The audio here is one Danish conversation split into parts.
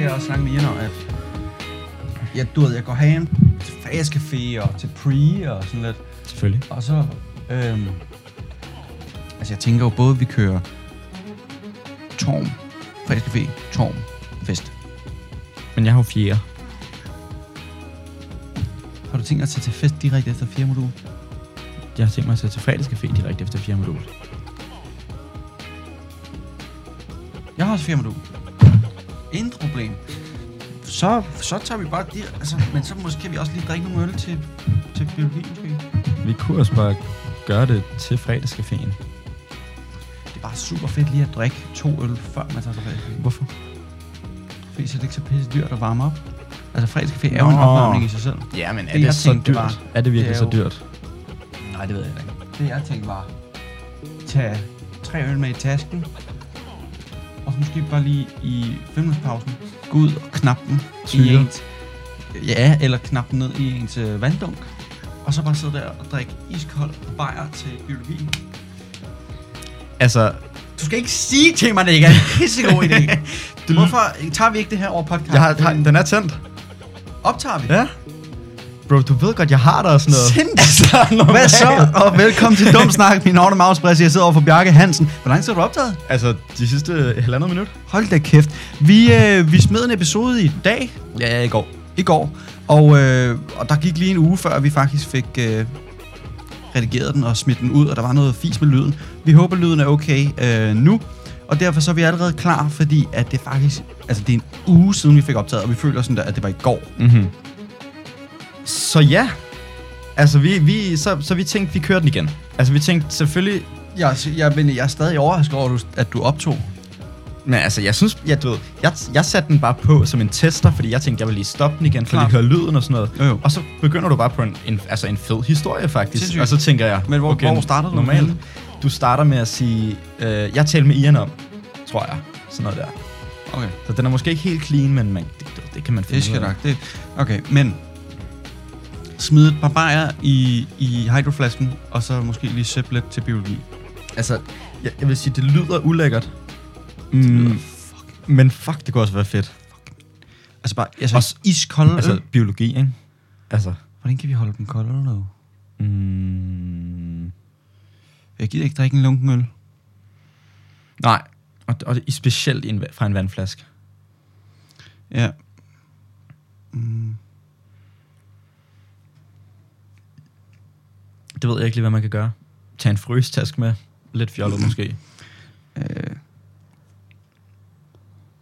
jeg også snakket med Jenner, at jeg, du ved, jeg går hen til Fas Café og til Pre og sådan lidt. Selvfølgelig. Og så, øhm, altså jeg tænker jo både, at vi kører Torm, Fas Café, Torm, Fest. Men jeg har jo fjerde. Har du tænkt dig at tage til fest direkte efter fire modul? Jeg har tænkt mig at tage til fredagscafé direkte efter fjerde modul. Jeg har også fire modul. Intet problem. Så, så tager vi bare direkte, altså, men så måske kan vi også lige drikke nogle øl til, til biologi, måske. Vi kunne også bare gøre det til fredagscaféen. Det er bare super fedt lige at drikke to øl, før man tager til fest. Hvorfor? Fordi så er det ikke så pisse dyrt at varme op. Altså fredagscafé er jo Nå. en opvarmning i sig selv. Ja, men er det så dyrt? er det virkelig Det det er er jo- så dyrt? Nej, det ved jeg ikke. Det jeg tænkte var, tage tre øl med i tasken, og så måske bare lige i femminutspausen gå ud og knap den i Tyre. ens, ja, eller knap den ned i ens øh, vanddunk, og så bare sidde der og drikke iskold bajer til biologien. Altså, Du skal ikke sige til mig, det ikke er en pissegod idé. Hvorfor tager vi ikke det her over podcast? Øhm, jeg har, har, den er tændt. Optager vi? Ja. Bro, du ved godt, jeg har der og sådan noget. Sindssygt. Hvad så? Og velkommen til Dum Snak, min Orne Mauspress. Jeg sidder over for Bjarke Hansen. Hvor lang tid har du optaget? Altså, de sidste halvandet minut. Hold da kæft. Vi, øh, vi smed en episode i dag, Ja, ja, i går. i går, og, øh, og der gik lige en uge før, vi faktisk fik øh, redigeret den og smidt den ud, og der var noget fis med lyden. Vi håber, lyden er okay øh, nu, og derfor så er vi allerede klar, fordi at det faktisk, altså det er en uge siden, vi fik optaget, og vi føler sådan der, at det var i går. Mm-hmm. Så ja. Altså, vi, vi, så, så vi tænkte, vi kører den igen. Altså, vi tænkte selvfølgelig... Jeg, jeg, men jeg er stadig overrasket over, at du- at du optog. Men altså, jeg synes, jeg, du ved, jeg, jeg satte den bare på som en tester, fordi jeg tænkte, jeg vil lige stoppe den igen, for Klart. lige høre lyden og sådan noget. Jo, jo. Og så begynder du bare på en, en, altså en fed historie, faktisk. Sindssygt. Og så tænker jeg... Men hvor- hvor starter du Normalt. henne? Du starter med at sige... Øh, jeg talte med Ian om, tror jeg. Sådan noget der. Okay. Så den er måske ikke helt clean, men man, det, det, det kan man finde Det skal nok. Det, okay, men smid et par bajer i, i hydroflasken, og så måske lige sæppe lidt til biologi. Altså, jeg, jeg vil sige, det lyder ulækkert. Mm, lyder Men fuck, det kunne også være fedt. Altså bare altså, Også- iskolde altså, Altså, øl. biologi, ikke? Altså. Hvordan kan vi holde dem kolde nu? Mm, Jeg gider ikke drikke en lunken øl. nej. Og, og i- specielt i en, va- fra en vandflaske. Ja. Mm. Det ved jeg ikke lige, hvad man kan gøre. Tag en frøstask med. Lidt fjollet Mm-hmm. måske. Øh.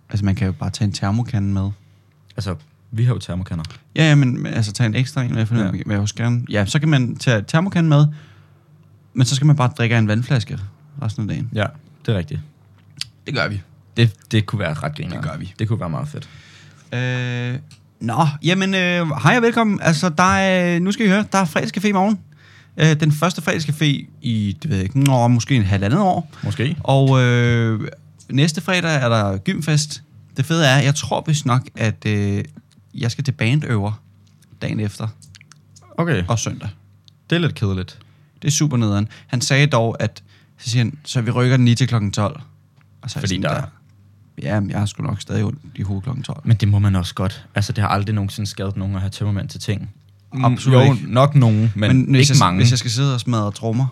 Altså man kan jo bare tage en termokande med. Altså, vi har jo termokanner. Ja, ja, men men altså tage en ekstra en, hvad jeg, ja. Ja. jeg også gerne. Ja, så kan man tage termokanden med, men så skal man bare drikke af en vandflaske resten af dagen. Ja, det er rigtigt. Det gør vi. Det, det kunne være ret griner. Det gør vi. Det kunne være meget fedt. Øh, nå, jamen, øh, hej og velkommen. Altså, der er, nu skal I høre, der er fredagscafé i morgen. Øh, den første fredagscafé i, det ved jeg ikke, nå, måske en halvandet år. Måske. Og øh, næste fredag er der gymfest. Det fede er, jeg tror vist nok, at øh, jeg skal til bandøver dagen efter Okay. og søndag. Det er lidt kedeligt. Det er super nederen. Han sagde dog, at så, siger han, så vi rykker den lige til klokken 12. Og så er jeg Fordi sådan der- Ja, men jeg har sgu nok stadig ondt i hovedet klokken 12. Men det må man også godt. Altså, det har aldrig nogensinde skadet nogen at have tømmermænd til ting. Mm, absolut jo, ikke. nok nogen, men, men hvis ikke jeg, mange. Hvis jeg skal sidde og smadre trommer,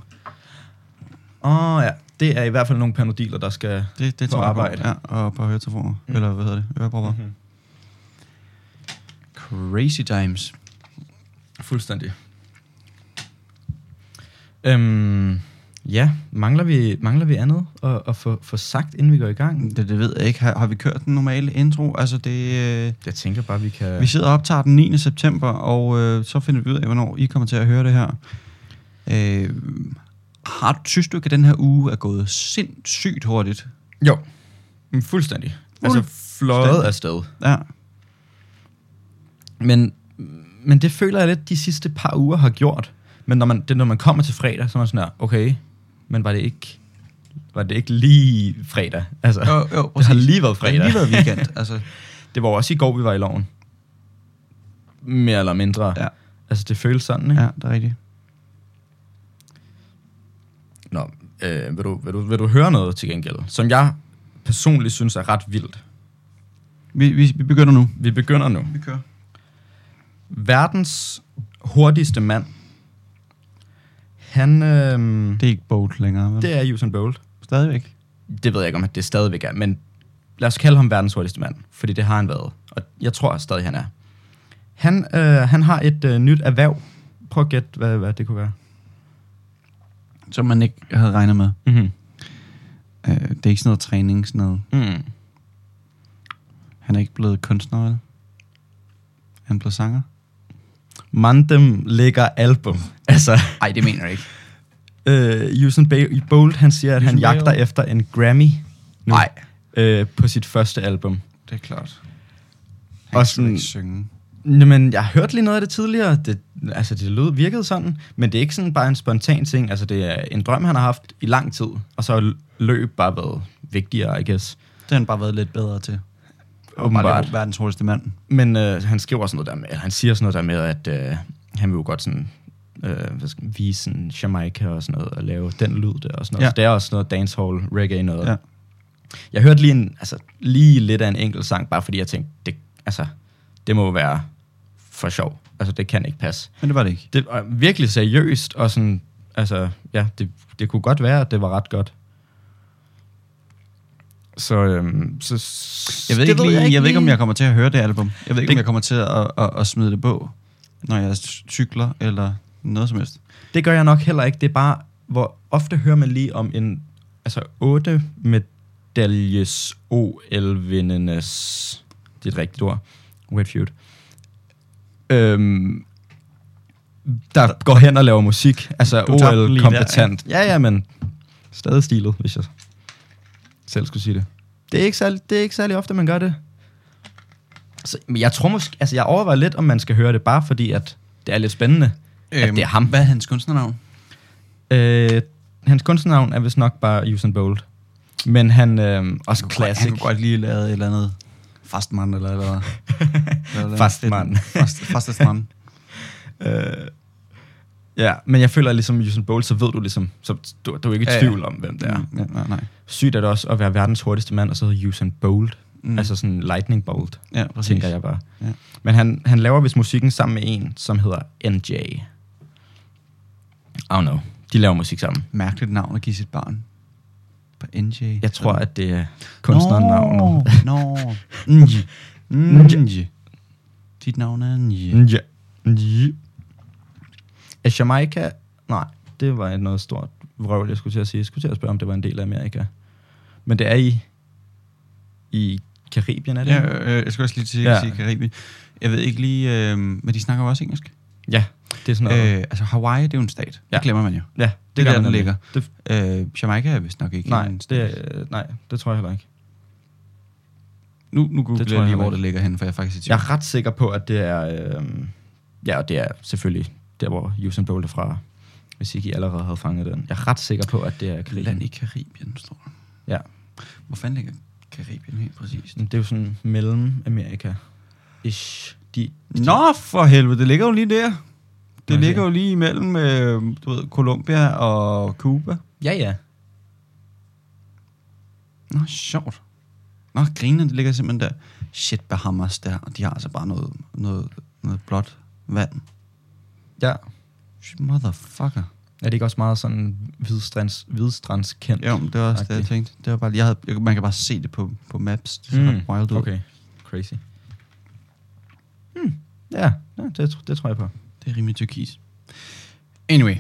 Åh oh, ja, det er i hvert fald nogle panodiler, der skal... Det, det På tror jeg på. arbejde. Ja, og på høretelefoner. Mm. Eller hvad hedder det? Ørepropper. Mm-hmm. Crazy times. Fuldstændig. Øhm, ja, mangler vi, mangler vi andet at, at få, få sagt, inden vi går i gang? Det, det ved jeg ikke. Har, har vi kørt den normale intro? Altså det... Øh, Jeg tænker bare, vi kan... vi sidder og optager den 9. september, og øh, så finder vi ud af, hvornår I kommer til at høre det her. Øh, har, synes du ikke, at den her uge er gået sindssygt hurtigt? Jo, Mm, fuldstændig. Altså, fløjet afsted. Ja. Men, men det føler jeg lidt, de sidste par uger har gjort. Men når man, det, er, når man kommer til fredag, så er man sådan her, okay, men var det ikke, var det ikke lige fredag? Altså, Jo, jo, det har præcis. lige været Det fredag. har lige været weekend. altså, Det var jo også i går, vi var i loven. Mere eller mindre. Ja. Altså, det føles sådan, ikke? ja, det er rigtigt. Nå, øh, vil, du, vil, du, vil du høre noget til gengæld, som jeg personligt synes er ret vildt? Vi, vi, vi begynder nu. Vi begynder nu. Vi kører. Verdens hurtigste mand. Han, øh, Det er ikke Bolt længere, vel? det er Usain Bolt. stadigvæk. Det ved jeg ikke, om det stadigvæk er, men lad os kalde ham verdens hurtigste mand, fordi det har han været, og jeg tror stadig, han er. Han, øh, han har et øh, nyt erhverv. Prøv at gætte, hvad, hvad det kunne være. Som man ikke havde regnet med. Mm-hmm. Øh, det er ikke sådan noget træning, sådan noget. Mm. Han er ikke blevet kunstner, vel? Han blev sanger. Mandem lægger album. Altså, Nej, det mener jeg ikke. øh, Usain Ba- Bolt, han siger, at han Usain Bolt? jagter efter en Grammy nu, Nej. øh, på sit første album. Det er klart. Han kan slet ikke ikke synge. Jamen, jeg har hørt lige noget af det tidligere. Det, altså, det lød, virkede sådan, men det er ikke sådan bare en spontan ting. Altså, det er en drøm, han har haft i lang tid, og så har løb bare været vigtigere, I guess. Det har han bare været lidt bedre til. Bare Åbenbart. det verdens hurtigste mand. Men øh, han skriver sådan noget der med, eller han siger sådan noget der med, at øh, han vil jo godt sådan, øh, hvad skal man, vise sådan Jamaica og sådan noget, og lave den lyd der og sådan noget. Ja. Ja. Så det er også noget dancehall, reggae noget. Ja. Ja. Jeg hørte lige, en, altså, lige lidt af en enkelt sang, bare fordi jeg tænkte, det, altså, det må jo være for sjov. Altså, det kan ikke passe. Men det var det ikke. Det var virkelig seriøst, og sådan, altså, ja, det, det kunne godt være, at det var ret godt. Så, øhm, så Jeg ved, det ikke, lige, jeg ved ikke, om jeg kommer til at høre det album. Jeg ved ikke, om Det- jeg kommer til at, at, at smide det på, når jeg cykler eller noget som helst. Det gør jeg nok heller ikke. Det er bare, hvor ofte hører man lige om en altså 8 medaljes OL-vindendes, det er et rigtigt ord, Whitfield, øhm, der går hen og laver musik. Altså Du tabte den lige OL-kompetent. Ja, ja, men stadig stilet, hvis jeg selv skulle sige det. Det er ikke særlig, det er ikke særlig ofte, man gør det. Så, men jeg tror måske, altså jeg overvejer lidt, om man skal høre det, bare fordi at det er lidt spændende. Øhm, det er ham. Hvad er hans kunstnernavn? Øh, hans kunstnernavn er vist nok bare Usain Bolt. Men han øh, også Han classic. kunne godt lige lave et eller andet fastmand eller eller andet. Eller andet. Fastmand. Fast, fastestmand. Øh, ja, men jeg føler ligesom Usain Bolt, så ved du ligesom, så du, du er ikke i Ja, ja. tvivl om, hvem det er. Ja. ja, nej, nej. Sygt er det også at være verdens hurtigste mand, og så hedder Usain Bolt. Mm. Mm. Altså sådan lightning bolt, ja, Præcis. præcis. tænker jeg bare. Ja. Ja. Men han, han laver vist musikken sammen med en, som hedder NJ. I don't know. De laver musik sammen. Mærkeligt navn at give sit barn. På NJ. Jeg tror, at det er kunstnernavnet. Nå, nå. Mm. Mm. Dit navn er Nje. Ja. ja. Er Jamaica... Nej, det var et noget stort vrøvl, jeg skulle til at sige. Jeg skulle til at spørge, om det var en del af Amerika. Men det er i... I Karibien, er det? Ja, ikke? øh, jeg skulle også lige til at Ja. sige Karibien. Jeg ved ikke lige, øh, men de snakker jo også engelsk. ja det er sådan noget. Øh, altså Hawaii, det er jo en stat. Ja. Ja. Det glemmer man jo. ja, det, Det er gør der, man den nemlig. ligger. Det, Øh, Jamaica er vist nok ikke nej, en stat. det, er- øh, nej, det tror jeg heller ikke. Nu, nu googler tror jeg jeg lige, hvor heller det ligger henne, for jeg er faktisk i Jeg tvivl. er ret sikker på, at det er... Øh, ja, og det er selvfølgelig der, hvor Usain Bolt er fra. Hvis ikke I allerede havde fanget den. Jeg er ret sikker på, at det er Ja. Land Karibien. i Karibien, står der. Ja. Hvor fanden ligger Karibien helt præcist? Det er jo sådan mellem Amerika. Ish. De, Nå, for helvede, det ligger jo lige der. Det Okay. ligger jo lige imellem, øh, du ved, Colombia og Cuba. Ja, ja. Nå, sjovt. Nå, griner, det ligger simpelthen der. Shit, Bahamas der, og de har altså bare noget, noget, noget blåt vand. Ja. Motherfucker. Er det ikke også meget sådan hvidstrands, hvidstrandskendt? Jo, men det var også det, jeg Agtigt. tænkte. Det var bare, jeg havde, jeg, man kan bare se det på, på maps. Det ser mm. wild ud. Okay. Okay. Crazy. Hmm. Ja, ja det, tr- det tror jeg på. Det er rimelig tyrkis. Anyway.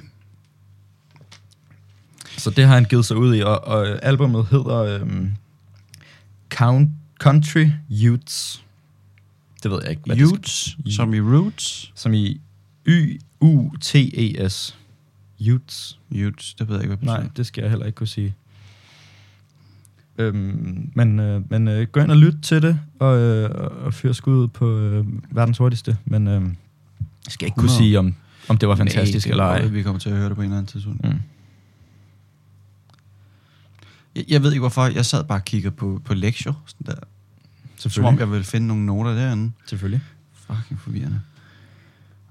Så det har han givet sig ud i, og, og øh, albumet hedder øhm, Count Country Utes. Det ved jeg ikke, hvad det skal- Utes, som i roots. Som i Y-U-T-E-S. Utes. Utes, det ved jeg ikke, hvad det Nej, betyder. det skal jeg heller ikke kunne sige. Øhm, men øh, men øh, gå ind og lyt til det, og, øh, og fyr skuddet på øh, verdens hurtigste. Men øh, jeg skal ikke 100. kunne sige, om, om det var fantastisk Nej, eller det er ej. godt, at Vi kommer til at høre det på en eller anden tidspunkt. Mm. Jeg, jeg ved ikke, hvorfor. Jeg sad bare og kiggede på, på lektier. Sådan der. Som om Selvfølgelig. jeg ville finde nogle noter derinde. Selvfølgelig. Fucking forvirrende.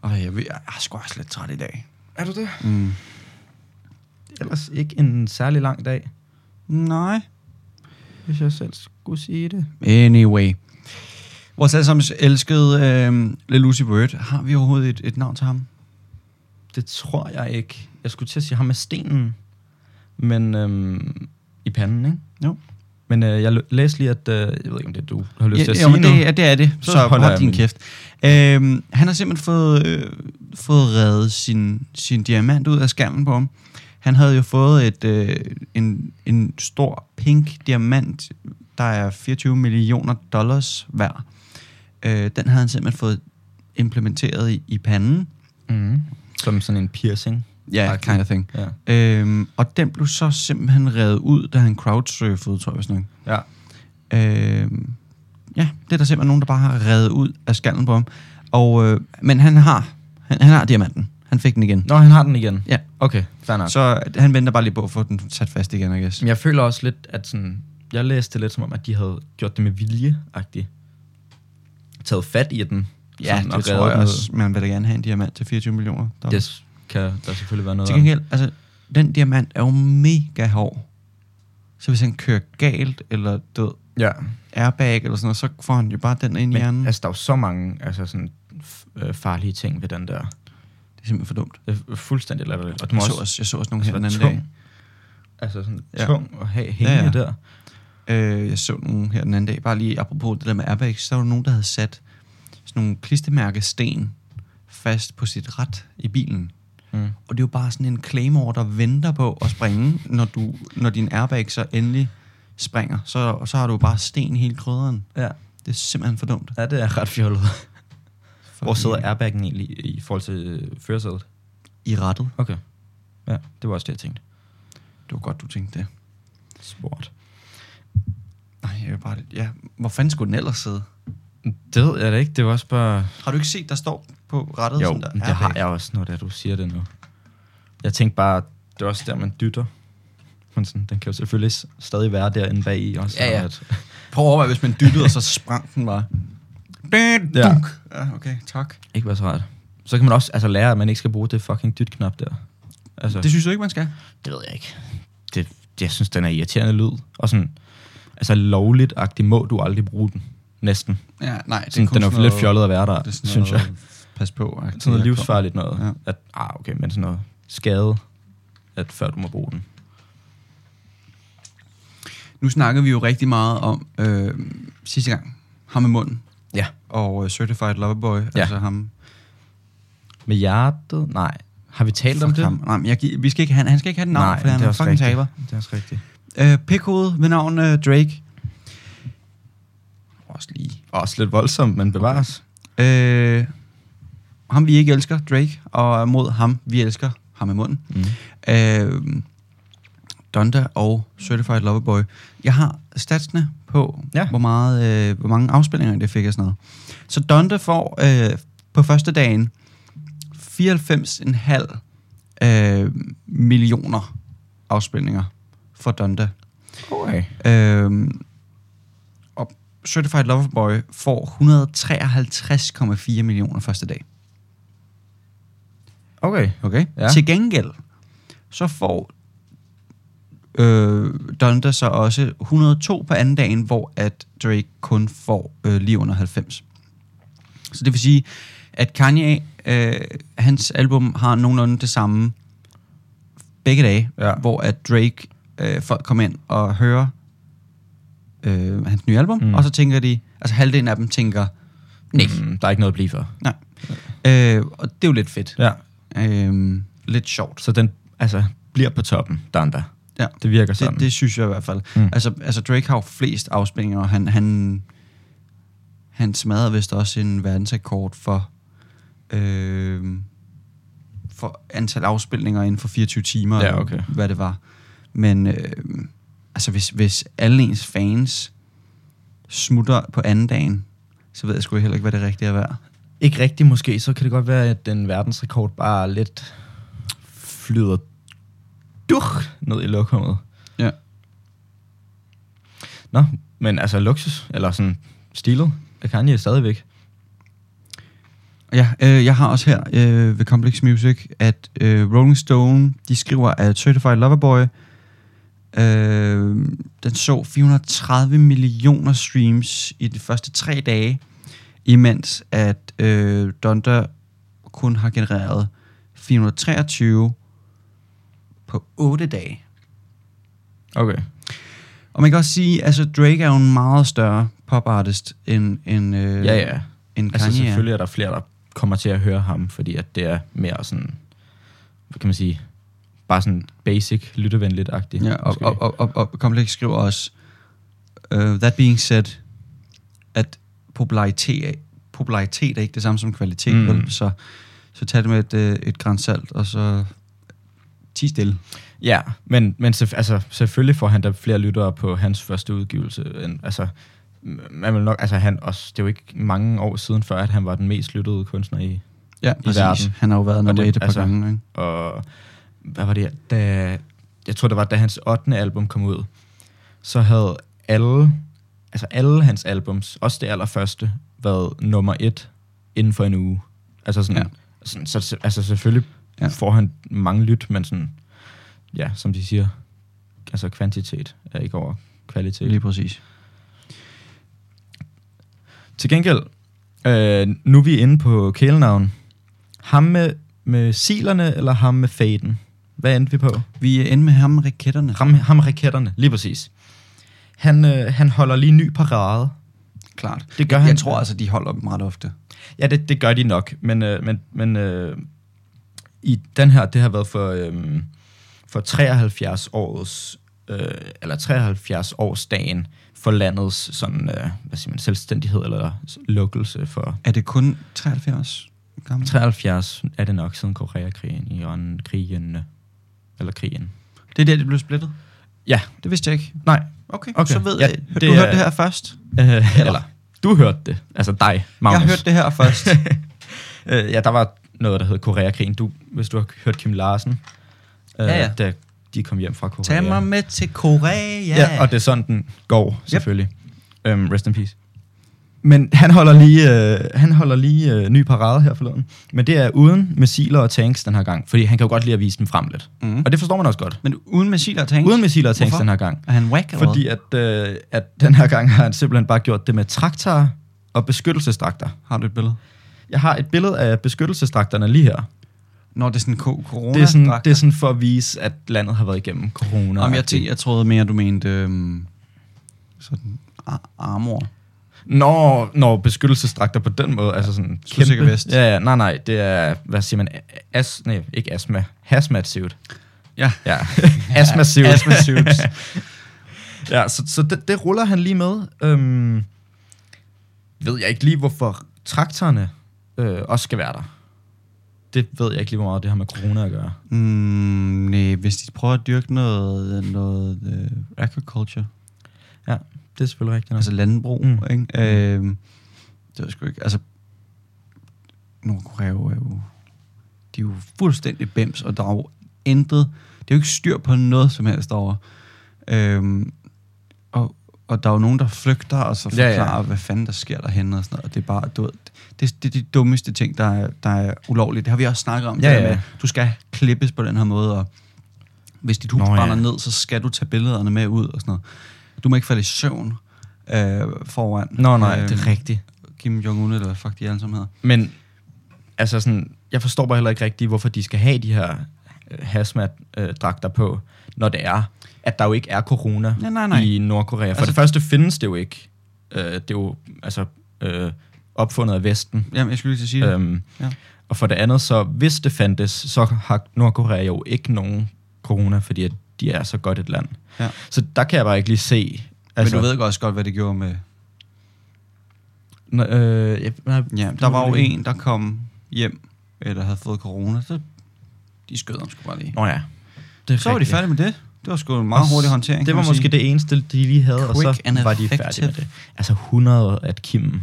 Og jeg, ved, jeg er sgu også lidt træt i dag. Er du det? Mm. Ellers ikke en særlig lang dag, Nej. hvis jeg selv skulle sige det. Anyway. Vores allesammens elskede øh, Lucy Bird, har vi overhovedet et, et navn til ham? Det tror jeg ikke. Jeg skulle til at sige ham med stenen, men øhm, i panden, ikke? Jo. Men øh, jeg l- læste lige, at... Øh, jeg ved ikke, om det er du har lyst til jo, at sige men noget. det, er- det er det. Så, Så så holder hold jeg din min. kæft. Øhm, han har simpelthen fået, øh, fået reddet sin, sin diamant ud af skærmen på ham. Han havde jo fået et, øh, en, en stor pink diamant, der er 24 millioner dollars værd. Øh, den havde han simpelthen fået implementeret i, i panden. Mm. Som sådan en piercing. Ja, yeah, Agtigt. kind of thing. Ja. Øhm, og den blev så simpelthen revet ud, da han crowdsurfede, tror jeg, sådan noget. ja. Øh, ja, det er der simpelthen nogen, der bare har reddet ud af skallen på ham. Og, øh, men han har, han, han har diamanten. Han fik den igen. Nå, han har den igen. Ja. Okay, fair nok. Så han venter bare lige på at få den sat fast igen, I guess. Men jeg føler også lidt, at sådan, jeg læste det lidt som om, at de havde gjort det med vilje-agtigt. Taget fat i den. Ja, sådan, det tror jeg også. Men han vil da gerne have en diamant til 24 millioner. Det yes, kan der selvfølgelig være noget Til om. gengæld, altså, den diamant er jo mega hård. Så hvis han kører galt, eller død Ja, airbag, eller sådan noget, så får han jo bare den ind i hjernen. Altså, men altså, der er jo så mange altså, sådan, f- øh, farlige ting ved den det der. er simpelthen for dumt. Det er fuldstændig latterligt. Og den Jeg må så også, også, jeg så også nogle altså, her den være anden tung. dag. Altså sådan Ja. ja. tung at have hængende Ja, ja, ja. ja. der. Øh, jeg så nogen her den anden dag, bare lige apropos det der med airbags, så var der nogen, der havde sat sådan nogle klistermærkesten fast på sit ret i bilen. Mm. Og det er jo bare sådan en claymore, der venter på at springe, når, du, når din airbag så endelig springer. Så, så har du jo bare sten i hele krydderen. Ja. Det er simpelthen for dumt. ja, det er ret fjollet. Hvor Fucking- sidder airbaggen egentlig i i forhold til øh, førersædet? I rettet. Okay. Ja, det var også det, jeg tænkte. Det var godt, du tænkte det. Sport. Nej, jeg er bare... Ja, hvor fanden skulle den ellers sidde? Det ved jeg da ikke. Det var også bare... Har du ikke set, der står på rettet? Jo, sådan der, men det har jeg også, når det er, du siger det nu. Jeg tænkte bare, det er også der, man dytter. Men sådan, den kan jo selvfølgelig s- stadig være derinde bag i også. Ja, ja. og At, Prøv at overveje, hvis man dyttede, og så sprang den bare. Bæt, Ja. dunk. Ja, okay, tak. ikke være så rart. Så kan man også altså, lære, at man ikke skal bruge det fucking dytknap der. Altså, Det synes du ikke, man skal? det ved jeg ikke. Det, det, jeg synes, den er irriterende lyd. Og sådan, altså lovligt-agtigt må du aldrig bruge den. Næsten. Ja, nej. Det Sådan, den er jo lidt fjollet at være der, Det er sådan synes jeg. noget, Pas på. Sådan noget livsfarligt noget. Ja. Ja. At, ah, okay, men sådan noget skade, at før du må bruge den. Nu snakker vi jo rigtig meget om øh, sidste gang. Ham med munden. Ja. Og øh, Certified Loverboy. Ja. Ja. Altså ham. Med hjertet? Nej. Har vi talt om Fuck det? Ham. Nej, men jeg, gi- vi skal ikke, han, han skal ikke have et navn, Nej, for men han det er en også fucking rigtigt. taber. Det er også rigtigt. Øh, Pikhoved ved navn øh, Drake. Også lige. Også lidt voldsomt, men bevares. Øh, ham vi ikke elsker, Drake. Og mod ham, vi elsker. Ham med munden. Mm. øh, Donda og Certified Loverboy. Jeg har statsene på, ja. Ja. hvor, meget, øh, hvor mange afspilninger det fik og sådan noget. Så Donda får øh, på første dagen 94,5 øh, millioner afspilninger for Donda. Okay. Øh, og Certified Loverboy får 153,4 millioner første dag. Okay. Okay. Ja. Ja. Til gengæld, så får øh, Donda så også 102 på anden dagen, hvor at Drake kun får øh, lige under 90. Så det vil sige, at Kanye, øh, hans album har nogenlunde det samme begge dage, Ja. hvor at Drake, øh, folk kommer ind og hører øh, hans nye album, mm. Mm. og så tænker de, altså halvdelen af dem tænker, nej, Mm, der er ikke noget at blive for. nej. Øh, og det er jo lidt fedt. Ja. Øh, lidt sjovt. Så den altså, bliver på toppen, Danda. Ja. Det virker sådan. Det, det synes jeg i hvert fald. Mm. Mm. Altså, altså Drake har jo flest afspilninger, og han, han, han smadrede vist også en verdensrekord for, øh, for antal afspilninger inden for 24 timer, Ja, eller okay. hvad det var. Men øh, altså, hvis, hvis alle ens fans smutter på anden dagen, så ved jeg sgu heller ikke, hvad det rigtige er værd. Ikke rigtigt måske, så kan det godt være, at den verdensrekord bare lidt flyder duch ned i lokummet. Ja. Nå, men altså luksus, eller sådan stilet, af Kanye stadigvæk. Ja, øh, jeg har også her øh, ved Complex Music, at øh, Rolling Stone, de skriver, at Certified Loverboy, øh, den så 430 millioner streams i de første tre dage, imens at øh, Donda kun har genereret 423 på 8 dage. Okay. Og man kan også sige, altså Drake er jo en meget større popartist end, end, øh, Ja, ja. end Kanye Altså er. selvfølgelig er der flere, der kommer til at høre ham, fordi at det er mere sådan, hvad kan man sige, bare sådan basic, lyttevenligt-agtigt. Ja, og, måske. og, og, og, og Complex skriver også, uh, that being said, at popularitet, er- popularitet er ikke det samme som kvalitet, Mm. mm. vel? Så, så tag det med et, øh, et gran salt, og så ti stille. Ja, men, men selvf- altså, selvfølgelig får han da flere lyttere på hans første udgivelse. End, altså, m- man vil nok, altså han også, det er jo ikke mange år siden før, at han var den mest lyttede kunstner i. Ja, præcis. verden. Han har jo været nummer det- et et par altså- gange, ikke? Og hvad var det, da, jeg tror det var, da hans 8. album kom ud, så havde alle, altså alle hans albums, også det allerførste, været nummer et inden for en uge. Altså sådan, Ja. ja. sådan så, altså selvfølgelig Ja. ja. får han mange lyt, men sådan, ja, som de siger, altså kvantitet er ikke over kvalitet. Lige præcis. Til gengæld, øh, nu er vi inde på kælenavn. Ham med, med silerne, eller ham med faden? Hvad endte vi på? Vi er inde med ham med raketterne. Ham, ham med raketterne, lige præcis. Han, øh, han holder lige ny parade. Klart. Det gør Jeg, han. jeg tror altså, de holder dem ret ofte. Ja, det, det gør de nok, men, øh, men, men øh, i den her, det har været for, øh, for 73 års øh, eller 73 årsdagen for landets sådan, øh, hvad siger man, selvstændighed eller lukkelse for Er det kun 73 gamle? 73 er det nok siden Koreakrigen, Iran, krigen, eller krigen. Det er der, det blev splittet? Ja. Det vidste jeg ikke. Nej, Okay, Okay. så ved Ja, jeg. Du det er- hørte det her først? øh, eller du hørte det, altså dig, Magnus. Jeg hørte det her først. Øh, ja, der var noget, der hed Koreakrigen. Du, hvis du har hørt Kim Larsen, øh, Ja, ja. da de kom hjem fra Korea. Tag mig med til Korea. Ja, og det er sådan, den går, selvfølgelig. Yep. Um, rest in peace. Men han holder lige, øh, han holder lige øh, ny parade her forleden. Men det er uden missiler og tanks den her gang, fordi han kan jo godt lide at vise dem frem lidt. Mhm. Mm. Og det forstår man også godt. Men uden missiler og tanks? Uden missiler og tanks Hvorfor? den her gang. Er han whack eller Fordi at, øh, at den her gang har han simpelthen bare gjort det med traktorer og beskyttelsestrakter. hvad? Har du et billede? Jeg har et billede af beskyttelsestrakterne lige her. Nå, det er sådan ko- corona Det er, sådan, det er sådan for at vise, at landet har været igennem corona. Jamen, jeg, tænkte, jeg troede mere, du mente øhm, sådan ar- armor. Når, når beskyttelsesdragter på den måde, altså sådan Skudsikker vest. Ja, ja, nej, nej, det er, hvad siger man, as, nej, ikke astma, hazmat suit. Ja. Ja, astma suit. Asthma suits. ja, så, så det, det, ruller han lige med. Øhm, ved jeg ikke lige, hvorfor traktorerne øh, også skal være der. Det ved jeg ikke lige, hvor meget det har med corona at gøre. Mm, nej, hvis de prøver at dyrke noget, noget øh, agriculture, Ja, det er selvfølgelig rigtigt. nok. altså landbrug, mm. Mm. ikke? Øhm, det ved jeg sgu ikke. Altså, Nordkorea er jo, de er jo fuldstændig bims, og der er jo intet, det er jo ikke styr på noget som helst over. Øhm, og, og der er jo nogen, der flygter, og så Ja, ja. forklarer, ja, ja. hvad fanden der sker derhenne, og sådan noget. Og det er bare, du ved, det, det er de dummeste ting, der er, der er ulovlige. Det har vi også snakket om. Ja, det der ja. Med, du skal klippes på den her måde, og hvis dit hus Nå, Nå, ja. brænder ned, så skal du tage billederne med ud og sådan noget. Du må ikke falde i søvn øh, foran Nå, nej, øh, det er rigtigt. Kim Jong-un, eller hvad fuck de alle sammen hedder. Men altså sådan, jeg forstår bare heller ikke rigtigt, hvorfor de skal have de her øh, hazmat-dragter på, når det er, at der jo ikke er corona Ja, nej, nej. i Nordkorea. For Altså- altså, det første findes det jo ikke. Øh, det er jo altså, øh, opfundet af Vesten. Jamen, jeg skulle lige til at sige det. Øhm, Ja. ja. Og for det andet, så hvis det fandtes, så har Nordkorea jo ikke nogen corona, fordi at de er så godt et land. Ja. Så der kan jeg bare ikke lige se... Altså, Men du ved godt også godt, hvad det gjorde med... Nå, øh, jeg, nej, Ja, der var jo en, der kom hjem, eller havde fået corona, så de skød ham sgu bare lige. Nå ja. Det er Så var de rigtigt. færdige med det. Det var sgu en meget Og hurtig s- håndtering. Det kan var man måske sige. det eneste, de lige havde, og så Quick and var de færdige effective. med det. Altså 100, at Kim,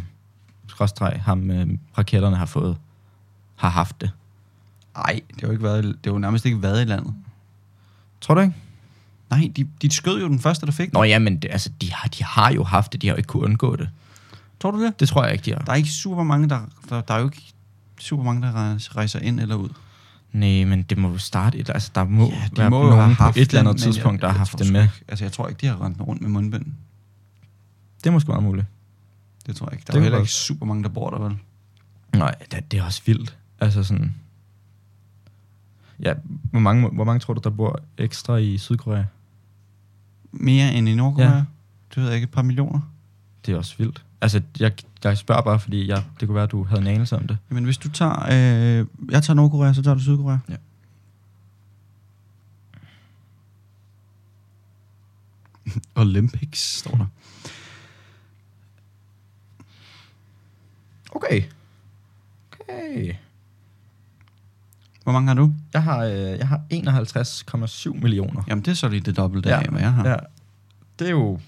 skråstreg, ham øh, raketterne har fået, har haft det. Nej, det har jo ikke været, det har jo nærmest ikke været i landet. Tror du ikke? Nej, de, de skød jo den første, der fik den. Nå ja, men det, altså, de, har, de har jo haft det, de har jo ikke kunnet undgå det. Tror du det? Det tror jeg ikke, de har. Der er ikke super mange, der, der, der er jo ikke super mange, der rejser- rejser ind eller ud. Nej, men det må jo starte et, altså der må, Ja, de være må jo nogen have på haft et eller den, andet men jeg- tidspunkt, der har jeg haft tror det sgu med. Ikke, altså, jeg tror ikke, de har rendt rundt med mundbind. Det er måske meget muligt. Det tror jeg ikke. Der Det er jo kan heller godt. ikke super mange, der bor der, vel? Nej, det, det er også vildt. Altså sådan... Ja, hvor mange, hvor mange tror du, der bor ekstra i Sydkorea? Mere end i Nordkorea? Ja. Det ved jeg ikke. Et par millioner? Det er også vildt. Altså, jeg, jeg spørger bare, fordi jeg, det kunne være, at du havde en anelse om det. Jamen, hvis du tager... Øh, jeg tager Nordkorea, så tager du Sydkorea. Ja. Olympics står der. Okay. Okay. Hvor mange har du? Jeg har, øh, jeg har 51,7 millioner. Jamen, det er så lige det dobbelte ja. af, hvad jeg har. Ja. ja. Det er jo...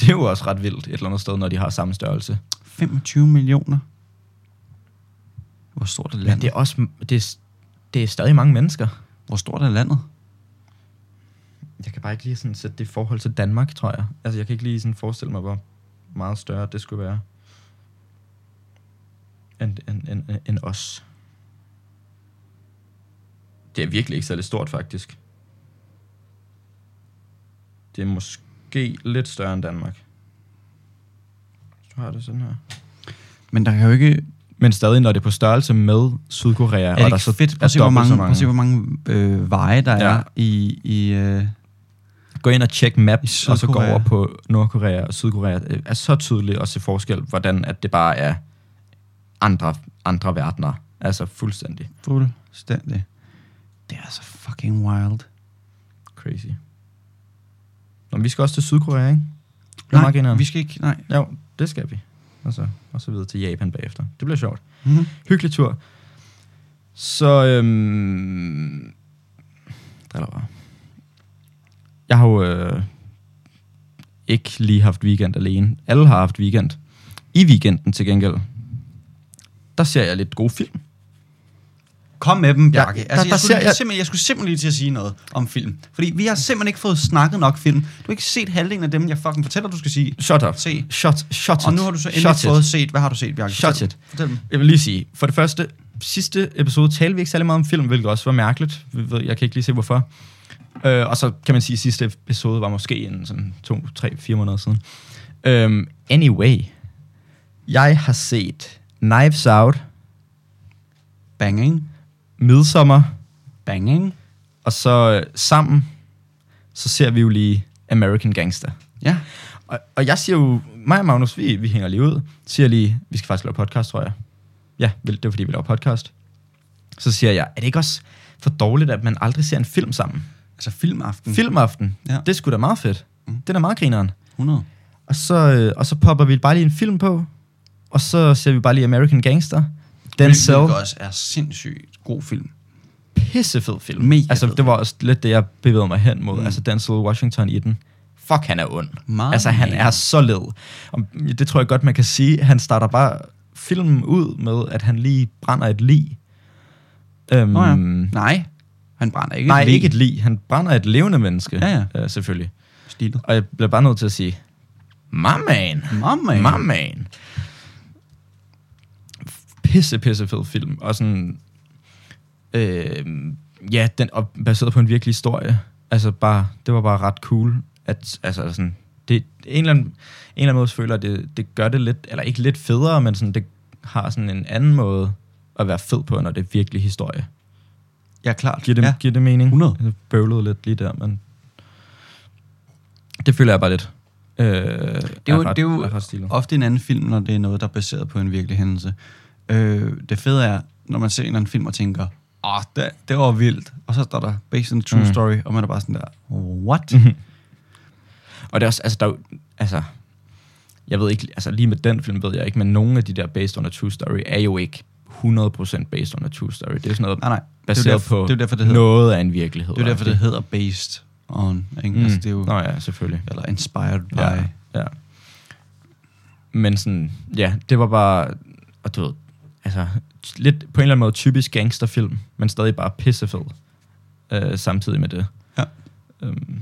Det er jo også ret vildt et eller andet sted, når de har samme størrelse. 25 millioner. Hvor stort er Men landet? det er også... Det er, det er stadig mange mennesker. Hvor stort er landet? Jeg kan bare ikke lige sådan sætte det i forhold til Danmark, tror jeg. Altså, jeg kan ikke lige sådan forestille mig, hvor meget større det skulle være. End, end, end, end- end os. Det er virkelig ikke særlig stort, faktisk. Det er måske lidt større end Danmark. Så har jeg det sådan her. Men der kan jo ikke... Men stadig, når det er på størrelse med Sydkorea, Er det ikke så fedt? Prøv at se, hvor mange, prøv at se, hvor mange øh, veje, der ja. Ja. er i... i øh, gå ind og tjek maps, I og så gå Sydkorea. over på Nordkorea og Sydkorea, øh, er så tydeligt at se forskel, hvordan at det bare er andre, andre verdener. Altså fuldstændig fuldstændig. Det er så fucking wild. crazy. Nå, men vi skal også til Sydkorea, ikke? Det er meget Nej, grineren. vi skal ikke... Nej. Jo, det skal vi. Og så, og så videre til Japan bagefter. Det bliver sjovt. Mm-hmm. Hyggelig tur. Så, øhm, driller bare. Jeg har jo øh, ikke lige haft weekend alene. Alle har haft weekend. I weekenden til gengæld, der ser jeg lidt gode film. Kom med dem, Ja, Bjarke. Ja, der- altså, der jeg, skulle, ser jeg... jeg- Simpelthen, jeg skulle simpelthen lige til at sige noget om film. Fordi vi har simpelthen ikke fået snakket nok film. Du har ikke set halvdelen af dem, jeg fucking fortæller, du skal sige. Shut up. Se. Shut, shut it. Og nu har du så endelig Shut it. Shut fået it. set... Hvad har du set, Bjarke? Shut Fortæl, it. fortæl dem. Jeg vil lige sige, for det første, sidste episode talte vi ikke særlig meget om film, hvilket også var mærkeligt. Vi ved- Jeg kan ikke lige se, hvorfor. Øh, og så kan man sige, at sidste episode var måske en sådan to, tre, fire måneder siden. Øhm, anyway, jeg har set Knives Out, Banging. Midsommer, Banging. og så øh, sammen, så ser vi jo lige American Gangster. Ja. Og, og jeg siger jo, mig og Magnus, vi, vi hænger lige ud, siger lige, vi skal faktisk lave podcast, tror jeg. Ja, vel, det er fordi, vi laver podcast. Så siger jeg, er det ikke også for dårligt, at man aldrig ser en film sammen? Altså filmaften. Mm. Filmaften, Ja. ja. det skulle sgu da meget fedt. Mm. Det er da meget grineren. 100. Og så, øh, og så popper vi bare lige en film på, og så ser vi bare lige American Gangster. Den Hvilket selv også er sindssygt god film. pissefed film. Mega altså, fed. det var også lidt det, jeg bevægede mig hen mod. Mm. Altså, Denzel Washington i den. Fuck, han er ond. Meget altså, han mere. er så led. Og det tror jeg godt, man kan sige. Han starter bare filmen ud med, at han lige brænder et lig. Øhm, Nå ja. Nej, han brænder ikke. nej, et lig. ikke et lig. Han brænder et levende menneske, Ja, ja. Øh, selvfølgelig. Stilet. Og jeg bliver bare nødt til at sige, my man. Mamma. My man. Pisse, pisse fed film. Og sådan... Øh, ja, den er baseret på en virkelig historie. Altså bare, det var bare ret cool. At, altså sådan, det, en, eller anden, en eller anden måde så føler, jeg, at det, det gør det lidt, eller ikke lidt federe, men sådan, det har sådan en anden måde at være fed på, når det er virkelig historie. Ja, klart. Giver det, ja. ja. giver det mening? 100. Jeg bøvlede lidt lige der, men det føler jeg bare lidt. Øh, det er, det er jo, det er jo er ret stilet. ofte en anden film, når det er noget, der er baseret på en virkelig hændelse. Øh, det fede er, når man ser en eller anden film og tænker, åh, oh, det, det var vildt. Og så står der, based on a true mm. Mm. Mm-hmm. story, og man er bare sådan der, what? Og det er også, altså, der er jo, altså, jeg ved ikke, altså lige med den film ved jeg ikke, men nogle af de der based on a true story er jo ikke 100% based on a true story. Det er sådan noget Ah, nej, nej. baseret det er jo derfor, på det er jo derfor, det hedder, noget af en virkelighed. det, er jo derfor, det agtigt. hedder based on, ikke? Mm. Altså, det er jo, Nå ja, selvfølgelig. eller inspired by. Ja, Ja. ja. Men sådan, ja, det var bare, og du ved, altså, t- lidt på en eller anden måde typisk gangsterfilm, men stadig bare pissefed øh, samtidig med det. Ja. Øhm,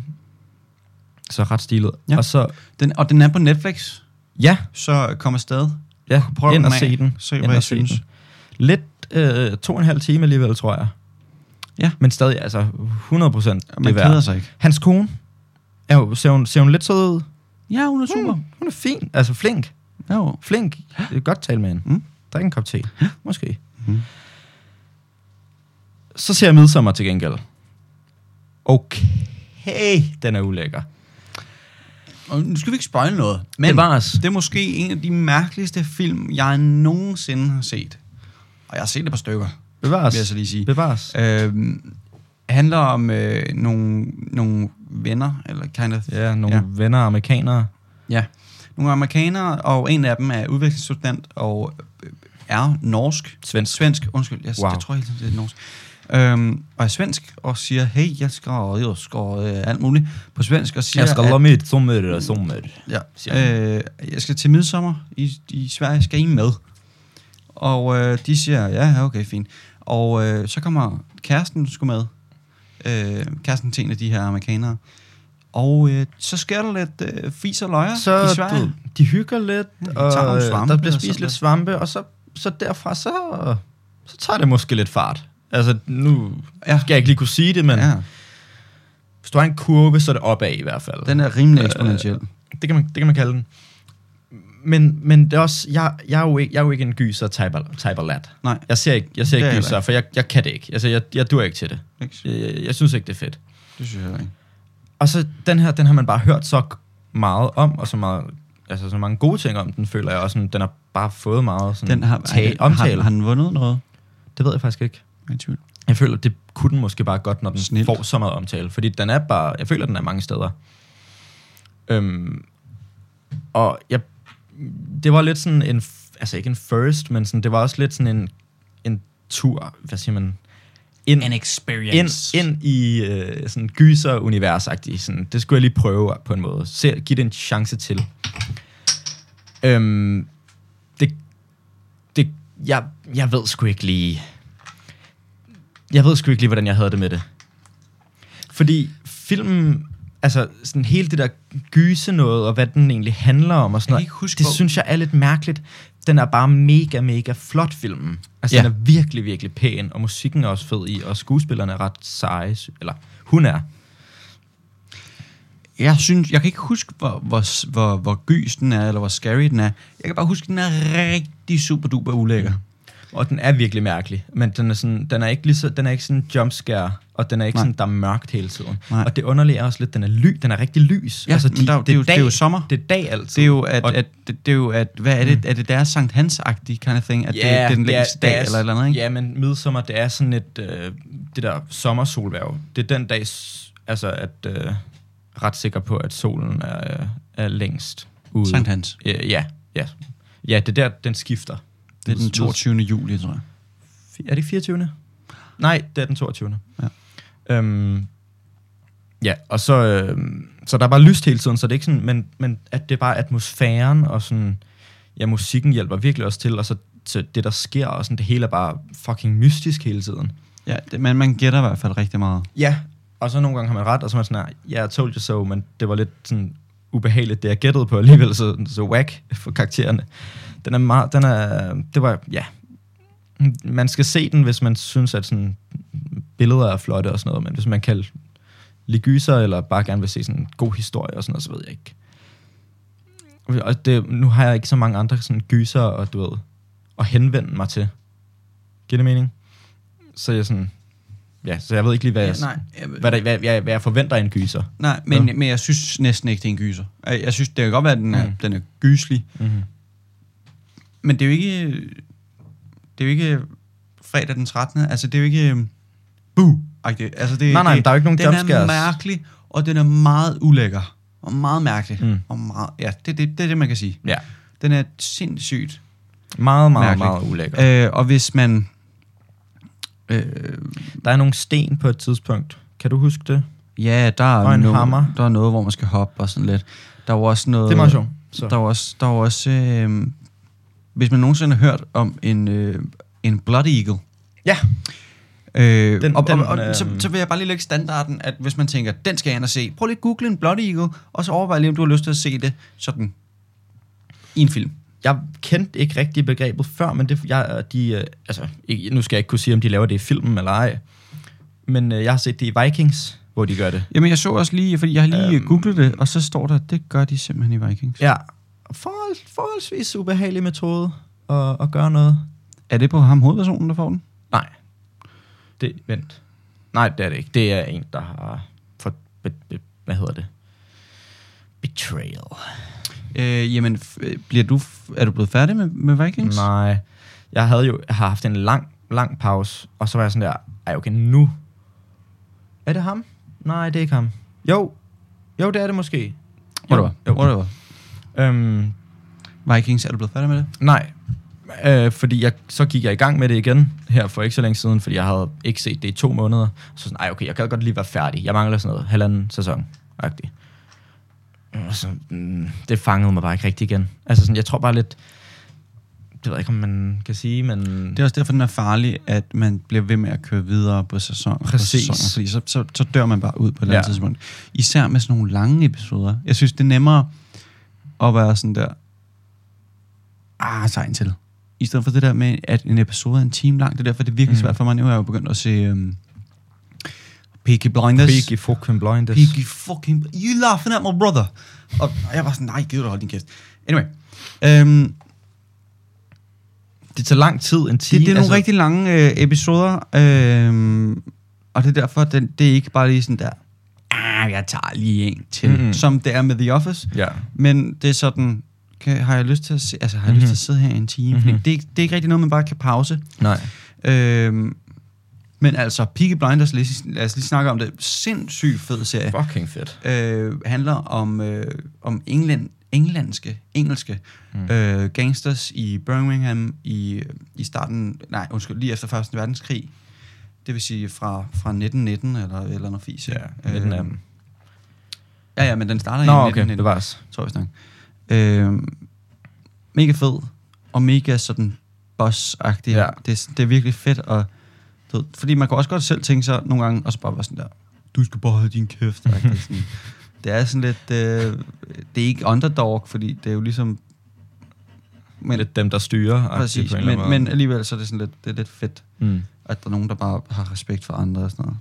så ret stilet. Ja. Og så, Den, og den er på Netflix, ja, så kom afsted. Ja, Prøv prøv ind den at af. se den. Se, Ind hvad og jeg se synes. den. Lidt øh, to og en halv time alligevel, tror jeg. Ja. Men stadig, altså 100 procent det Man er keder værd. sig Mm. ikke. Hans kone, er jo, ser, hun, ser hun lidt sød ud? Ja, hun er super. Hun, hun er fin, altså flink. Mm. Jo. Flink. Det er godt tale med hende. Mm. Mm. Drik en kop te. Måske. Mhm. Mm. Så ser jeg midsommer til gengæld. Okay, den er ulækker. Og nu skal vi ikke spejle noget. Men Men, det var os. det er måske en af de mærkeligste film, jeg nogensinde har set. Og jeg har set et par stykker, Det var os. vil jeg så lige sige. Det var os. Øhm, handler om øh, nogle, nogle venner, eller kind of, Ja, nogle Ja. ja. venner amerikanere. Ja. Nogle amerikanere, og en af dem er udvekslingsstudent og øh, er norsk. Svensk. Svensk, undskyld. Jeg, wow. Wow. jeg tror helt tiden, det er norsk. Øhm, og er svensk, og siger, hey, jeg skal, jeg skal øh, alt muligt på svensk, og siger, Jeg skal at- lade mit sommer og sommer. siger ja, øh, jeg skal til midsommer i, i Sverige, skal I med? Og øh, de siger, ja, ja, okay, fint. Og øh, så kommer kæresten sgu med. Øh, kæresten til en af de her amerikanere. Og øh, så sker der lidt øh, fis og løjer i Så Sverige. du, de hygger lidt, Ja, de og tager nogle øh, svampe der og bliver sådan spist noget. lidt svampe, og så, så derfra, så, så tager det måske lidt fart. Altså, nu Ja. ja. skal jeg ikke lige kunne sige det, men ja. Ja, hvis du har en kurve, så er det opad i hvert fald. den er rimelig eksponentiel. Det kan man, det kan man kalde den. Men, men det er også, jeg, jeg, er jo ikke, jeg er jo ikke en gyser type, type lat. Nej. Jeg ser ikke, jeg ser Det er ikke jeg gyser, for jeg, jeg kan det ikke. Altså, jeg, jeg dur ikke til det. Ikke? Jeg, jeg synes ikke, det er fedt. Det synes jeg heller ikke. Og så den her, den har man bare hørt så meget om, og så, meget, altså, så mange gode ting om den, føler jeg også. Sådan, den har bare fået meget sådan, Den har, tale, har, har, omtale. har den vundet noget? det ved jeg faktisk ikke. Jeg er i tvivl. Jeg føler, det kunne den måske bare godt, når den Snilt. Snilt. får så meget omtale. Fordi den er bare, jeg føler, den er mange steder. Øhm, og jeg, det var lidt sådan en, f- altså ikke en first, men sådan, det var også lidt sådan en, en tur, hvad siger man, ind, An experience. ind, ind i øh, sådan gyser univers sådan, Det skulle jeg lige prøve på en måde. Se, give det en chance til. Øhm, det, det, jeg, jeg ved sgu ikke lige... Jeg ved sgu ikke lige, hvordan jeg havde det med det. Fordi filmen, altså sådan hele det der gyse noget, og hvad den egentlig handler om og sådan Jeg kan noget, ikke huske, det hvor- synes jeg er lidt mærkeligt. Den er bare mega, mega flot filmen. Altså Ja. ja. den er virkelig, virkelig pæn, og musikken er også fed i, og skuespillerne er ret seje, sy- eller hun er. Jeg synes, jeg kan ikke huske, hvor, hvor, hvor, hvor gys den er, eller hvor scary den er. Jeg kan bare huske, den er rigtig super duper ulækker. Og den er virkelig mærkelig, men den er, sådan, den er ikke lige så, den er ikke sådan jumpscare, og den er ikke Nej. Nej. sådan, der er mørkt hele tiden. Nej. Nej. Og det underlige er også lidt, den er ly, den er rigtig lys. Altså, Ja, men der er jo- det er jo- det er jo sommer. Det er dag altid. Det er jo, at, Og- at, det, det er jo, at hvad er det, er det deres Sankt Hans-agtige kind of thing, at det, Mm. det er den længste dag, eller et eller andet, ikke? Ja, men midsommer, det er sådan et, øh, det der sommersolværv. Det er den dag, s- altså at øh, ret sikker på, at solen er, øh, er længst ude. Sankt Hans. Ja, ja, ja. Ja, det er der, den skifter. Det er den Mids- 22. juli, tror jeg. Er det 24. Nej, det er den 22. Ja. Øhm, ja, og så, øhm, så der er bare lyst hele tiden, så det er ikke sådan, men, men at det er bare atmosfæren og sådan, ja, musikken hjælper virkelig også til, og så til det, der sker, og sådan, det hele er bare fucking mystisk hele tiden. Ja, det, men man gætter i hvert fald rigtig meget. Ja, og så nogle gange har man ret, og så er man sådan her, ja, yeah, I told you so, men det var lidt sådan ubehageligt, det jeg gættede på alligevel, så, så whack for karaktererne. Den er meget, den er, det var, ja, man skal se den, hvis man synes, at sådan billeder er flotte og sådan noget, men hvis man kan lide gyser, eller bare gerne vil se sådan en god historie og sådan noget, så ved jeg ikke. Og det, nu har jeg ikke så mange andre sådan gyser og du ved, at henvende mig til. Giver det mening? Så jeg sådan, ja, så jeg ved ikke lige, hvad, ja, jeg, jeg, hvad, der, hvad, hvad, hvad jeg forventer af en gyser. nej men, men jeg synes næsten ikke, det er en gyser. Jeg jeg synes, det kan godt være, at den er, mm. Mm. den er gyselig, Mm-hmm. men det er jo ikke... Det er jo ikke fredag den 13. Altså, det er jo ikke... Buh! Altså, det, Nej, nej, det, der er jo ikke nogen Den er jumpscares. mærkelig, og den er meget ulækker. Og meget mærkelig. Mm. Mm. Og meget, ja, det, det, det er det, man kan sige. Ja. Den er sindssygt. Meget, meget, Mærkeligt. meget ulækker. Øh, og hvis man... Øh, Der er nogle sten på et tidspunkt. Kan du huske det? ja, der er, Og en noget, hammer. der er noget, hvor man skal hoppe og sådan lidt. Der er jo også noget... Det er meget sjovt. Så. Der er jo også... Der er jo også øh, hvis man nogensinde har hørt om en, øh, en Blood Eagle, Ja. Øh, den, Den- og, den, den, og, og så, øhm, så vil jeg bare lige lægge standarden, at hvis man tænker, den skal jeg ind og se, prøv lige at google en Blood Eagle, og så overvej lige, om du har lyst til at se det sådan i en film. Jeg kendte ikke rigtig begrebet før, men det, jeg, de, øh, altså, ikke, nu skal jeg ikke kunne sige, om de laver det i filmen eller ej. Men øh, jeg har set det i Vikings, hvor de gør det. øh, Jamen, jeg så også lige, fordi jeg har lige øhm, googlet det, og så står der, det gør de simpelthen i Vikings. Ja, forhold, forholdsvis ubehagelig metode at, at gøre noget. Er det på ham hovedpersonen, der får den? Nej. Det, vent. Nej, det er det ikke. Det er en, der har... For, be, be, hvad hedder det? Betrayal. Øh, jamen, f- øh, bliver du, f- er du blevet færdig med, med Vikings? Nej. Jeg havde jo jeg har haft en lang, lang pause, og så var jeg sådan der, ej okay, nu. Er det ham? Nej, det er ikke ham. Jo. Jo, det er det måske. Whatever. Jo. jo. Whatever. Øhm, Vikings, er du blevet færdig med det? nej. Øh, fordi jeg, så gik jeg i gang med det igen her for ikke så længe siden, fordi jeg havde ikke set det i to måneder. Så sådan, ej okay, jeg kan godt lige være færdig. Jeg mangler sådan noget halvanden sæson. -agtigt. Og så, mm, det fangede mig bare ikke rigtig igen. Altså sådan, jeg tror bare lidt, det ved jeg ikke, om man kan sige, men... Det er også derfor, den er farlig, at man bliver ved med at køre videre på sæson. Præcis. På sæsoner, fordi så, så, så dør man bare ud på et eller andet Ja. tidspunkt. Især med sådan nogle lange episoder. Jeg synes, det er nemmere at være sådan der... Ah, sejn til. I stedet for det der med, at en episode er en time lang. Det er derfor, det er virkelig Mm. svært for mig. Nu er jeg jo begyndt at se... Øhm, Peaky Blinders. Peaky fucking blinders. Peaky fucking... You laughing at my brother. Og jeg var sådan, nej, gider du holde din kæft. Anyway. Øhm, Det tager lang tid, en Det, time. det er nogle altså, rigtig lange øh, episoder, øh, og det er derfor, den, det er ikke bare lige sådan der, ah, jeg tager lige en til, Mhm. mm-hmm. som det er med The Office, Ja. men det er sådan, kan, har jeg lyst til at se, altså har jeg mm-hmm. Mhm. lyst til at sidde her i en time, mm-hmm. fordi Mhm. det, er ikke- det er ikke rigtig noget, man bare kan pause. Nej. Øh, men altså, Peaky Blinders, lad os, lige- lad os lige snakke om det, sindssygt fed serie, Fucking fedt. øh, handler om, øh, om England, englandske, engelske Mm. mm. øh, gangsters i Birmingham i, i starten, nej undskyld, lige efter 1. verdenskrig. Det vil sige fra, fra 1919 eller et eller noget fis. ikke? Ja, øh, lidt af dem. Ja, ja, men den starter Nå, i okay, 1919, det var os. tror jeg snakker. Øh, mega fed, og mega sådan boss agtig Ja. ja. det, er- det er virkelig fedt, og du ved, fordi man kan også godt selv tænke sig nogle gange, og så bare være sådan der, du skal bare holde din kæft. agtig, sådan. Det er sådan lidt, øh, det er ikke underdog, fordi det er jo ligesom Men lidt dem, der styrer. Præcis, men, men alligevel så er det sådan lidt, det er lidt fedt, Mm. at der er nogen, der bare har respekt for andre og sådan noget.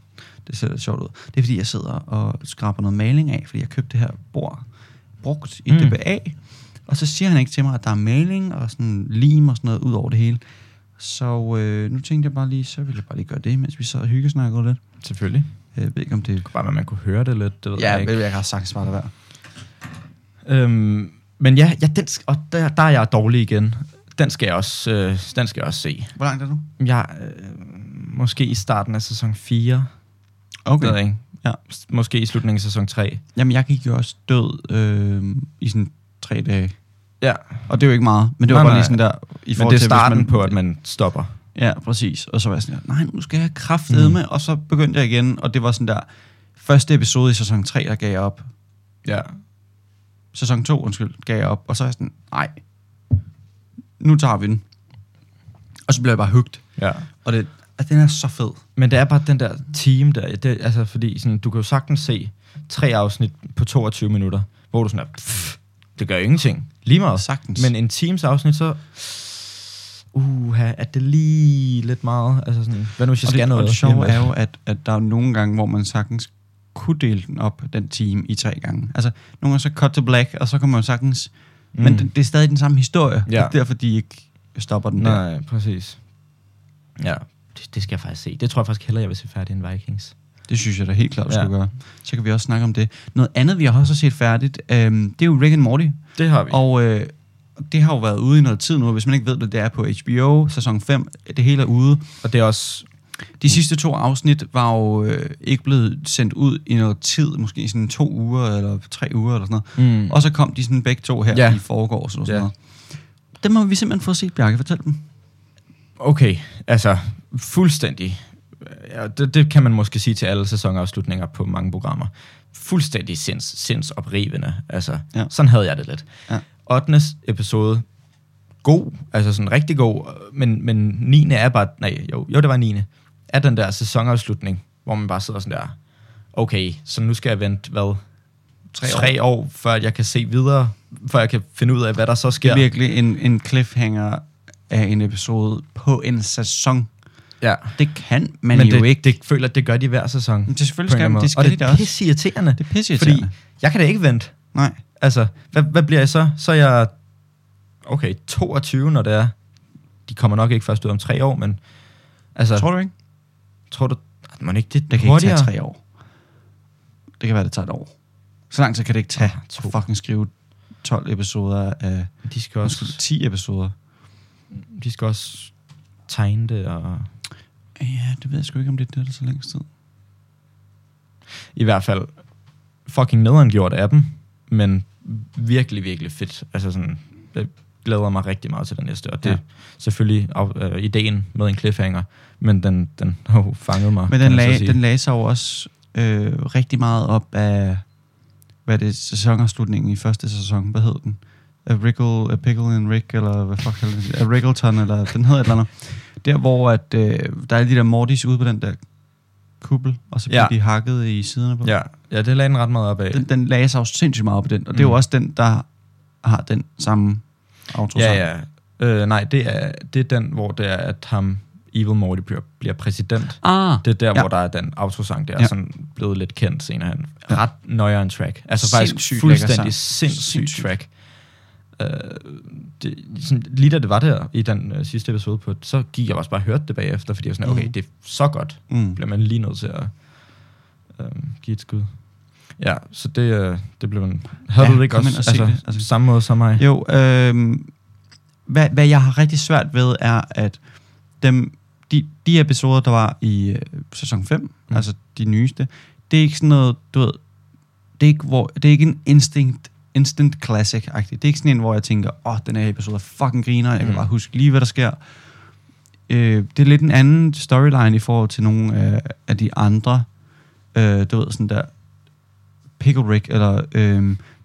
Det ser lidt sjovt ud. Det er fordi, jeg sidder og skraber noget maling af, fordi jeg købte det her bord brugt i Mm. mm. DBA, og så siger han ikke til mig, at der er maling og sådan lim og sådan noget ud over det hele. Så øh, nu tænkte jeg bare lige, så ville jeg bare lige gøre det, mens vi sad og hyggesnakkede lidt. Selvfølgelig. Jeg ved ikke, om det... Bare, at man kunne høre det lidt, det ved jeg ikke. ved jeg har sagt, var det værd. Øhm, men ja, ja den, sk- og der, der er jeg dårlig igen. Den skal jeg også, øh, den skal jeg også se. Hvor langt er du? Jeg, øh, måske i starten af sæson 4. Okay. Det ved jeg ikke. Ja, s- måske i slutningen af sæson 3. Jamen, jeg gik jo også død øh, i sådan tre dage. Ja, Og det er jo ikke meget, men det var Nej, bare nej. lige sådan der... I men forhold det er til, hvis starten man, man, på, at man stopper. Ja, præcis. Og så var jeg sådan, nej, nu skal jeg kraftedme. Mm. med. Og så begyndte jeg igen, og det var sådan der, første episode i sæson 3, der gav jeg op. Ja. Sæson 2, undskyld, gav jeg op. Og så er jeg sådan, nej, nu tager vi den. Og så blev jeg bare hugt. ja. Og det, at den er så fed. Men det er bare den der team der, det, altså fordi sådan, du kan jo sagtens se tre afsnit på 22 minutter, hvor du sådan er, pff, det gør ingenting, lige meget. Sagtens. Men en times afsnit, så, uha, er det lige lidt meget, altså sådan, hvad nu hvis jeg og skal det, noget? og det sjove Jamen, er jo, at, at der er nogle gange, hvor man sagtens kunne dele den op, den time, i tre gange. Altså, nogle gange så cut to black, og så kan man jo sagtens... Mm. Mm. Men det, det er stadig den samme historie. Ja. Det er derfor, de ikke stopper den der. altså, Nej, præcis. Ja, det, det skal jeg faktisk se. Det tror jeg faktisk hellere, jeg vil se færdig end Vikings. Det synes jeg da helt klart, du Ja. ja. skulle gøre. Så kan vi også snakke om det. Noget andet, vi har også set færdigt, øhm, det er jo Rick and Morty. Det har vi. Og Og øh, det har jo været ude i noget tid nu, og hvis man ikke ved det, det er på HBO, sæson 5, det hele er ude. og det er også, Mm. De sidste to afsnit var jo øh, ikke blevet sendt ud i noget tid, måske sådan to uger eller tre uger eller sådan noget. Mm. Og så kom de sådan begge to her Ja. i forgårs og sådan Ja. noget. Dem har vi simpelthen fået set, Bjarke, fortæl dem. okay, altså fuldstændig, ja, det, det kan man måske sige til alle sæsonafslutninger på mange programmer, fuldstændig sinds, sindsoprivende. Altså, ja. Ja. sådan havde jeg det lidt. Ja. 8. episode, god, altså sådan rigtig god, men, men 9. er bare, nej, jo, jo, det var 9. Er den der sæsonafslutning, hvor man bare sidder sådan der, okay, så nu skal jeg vente, hvad, Tre tre, tre år. år, før jeg kan se videre, før jeg kan finde ud af, hvad der så Det er sker. virkelig en, en cliffhanger af en episode på en sæson. Ja. Det kan man Men, men jo det, ikke. ikke. det føler, at det gør de hver sæson. Men det selvfølgelig på en eller skal man- anden måde. det skal Og de det da er også. pisse irriterende. Det er pisse Fordi jeg kan da ikke vente. Nej. Altså, hvad, hvad bliver jeg så? Så er jeg okay, 22, når det er. De kommer nok ikke først ud om tre år, men... Altså, tror, Tror du ikke? tror du... Ej, Må ikke det, Det kan hurtigere? ikke tage tre år. Det kan være, det tager et år. Ah, Så lang tid kan det ikke tage to. at fucking skrive 12 episoder af... De skal Undskyld, også, 10 episoder. de skal også tegne det, og... Ja, det ved jeg sgu ikke, om det er det, der så lang tid. I hvert fald fucking nederen gjort af dem, men virkelig, virkelig fedt. Altså sådan, jeg glæder mig rigtig meget til den næste, og det er Ja. selvfølgelig af, øh, ideen med en cliffhanger, men den, den har jo fanget mig. Men kan den man så lagde, sige. den lagde sig jo også øh, rigtig meget op af, hvad er det, sæsonafslutningen i første sæson, hvad hed den? A Rickle, A Pickle and Rick, eller hvad fuck kalder den? A Rickleton, eller den hedder et eller andet. Der, hvor at, øh, der er de der Mortis ude på den der kuppel, og så bliver Ja. de hakket i siderne på. Ja, ja, det lagde den ret meget op af. Den, den lagde sig jo sindssygt meget op på den, og det er Mm. jo også den, der har den samme outro sang. ja, ja. Øh, nej, det er, det er den, hvor det er, at ham, Evil Morty, bliver, bliver præsident. Ah, Det er der, Ja. ja. hvor der er den autosang der, Ja. ja. som blevet lidt kendt senere hen. Ja. Ret nøjeren track. Altså Sindssygt faktisk lækker sang. fuldstændig sindssyg Sindssygt. track. Uh, det, sådan, lige da det var der i den uh, sidste episode på, så gik jeg også bare og hørte det bagefter, fordi jeg var sådan, okay, Mhm. det er så godt, mm. bliver man lige nødt til at uh, give et skud. Ja, så det, uh, det blev en... Havde Ja, du det ikke kom også ind og se det. Altså- altså, samme måde som mig? Jo, øh, hvad, hvad jeg har rigtig svært ved, er, at dem, de, de episoder, der var i øh, sæson 5, mm. Mm. altså de nyeste, det er ikke sådan noget, du ved, det er ikke, hvor, det er ikke en instinct, instant classic-agtig. Det er ikke sådan en, hvor jeg tænker, åh, oh, den her episode er fucking griner, jeg kan Mm. bare huske lige, hvad der sker. Øh, det er lidt en anden storyline i forhold til nogle af, af de andre, øh, du ved, sådan der Pickle Rick, eller øh,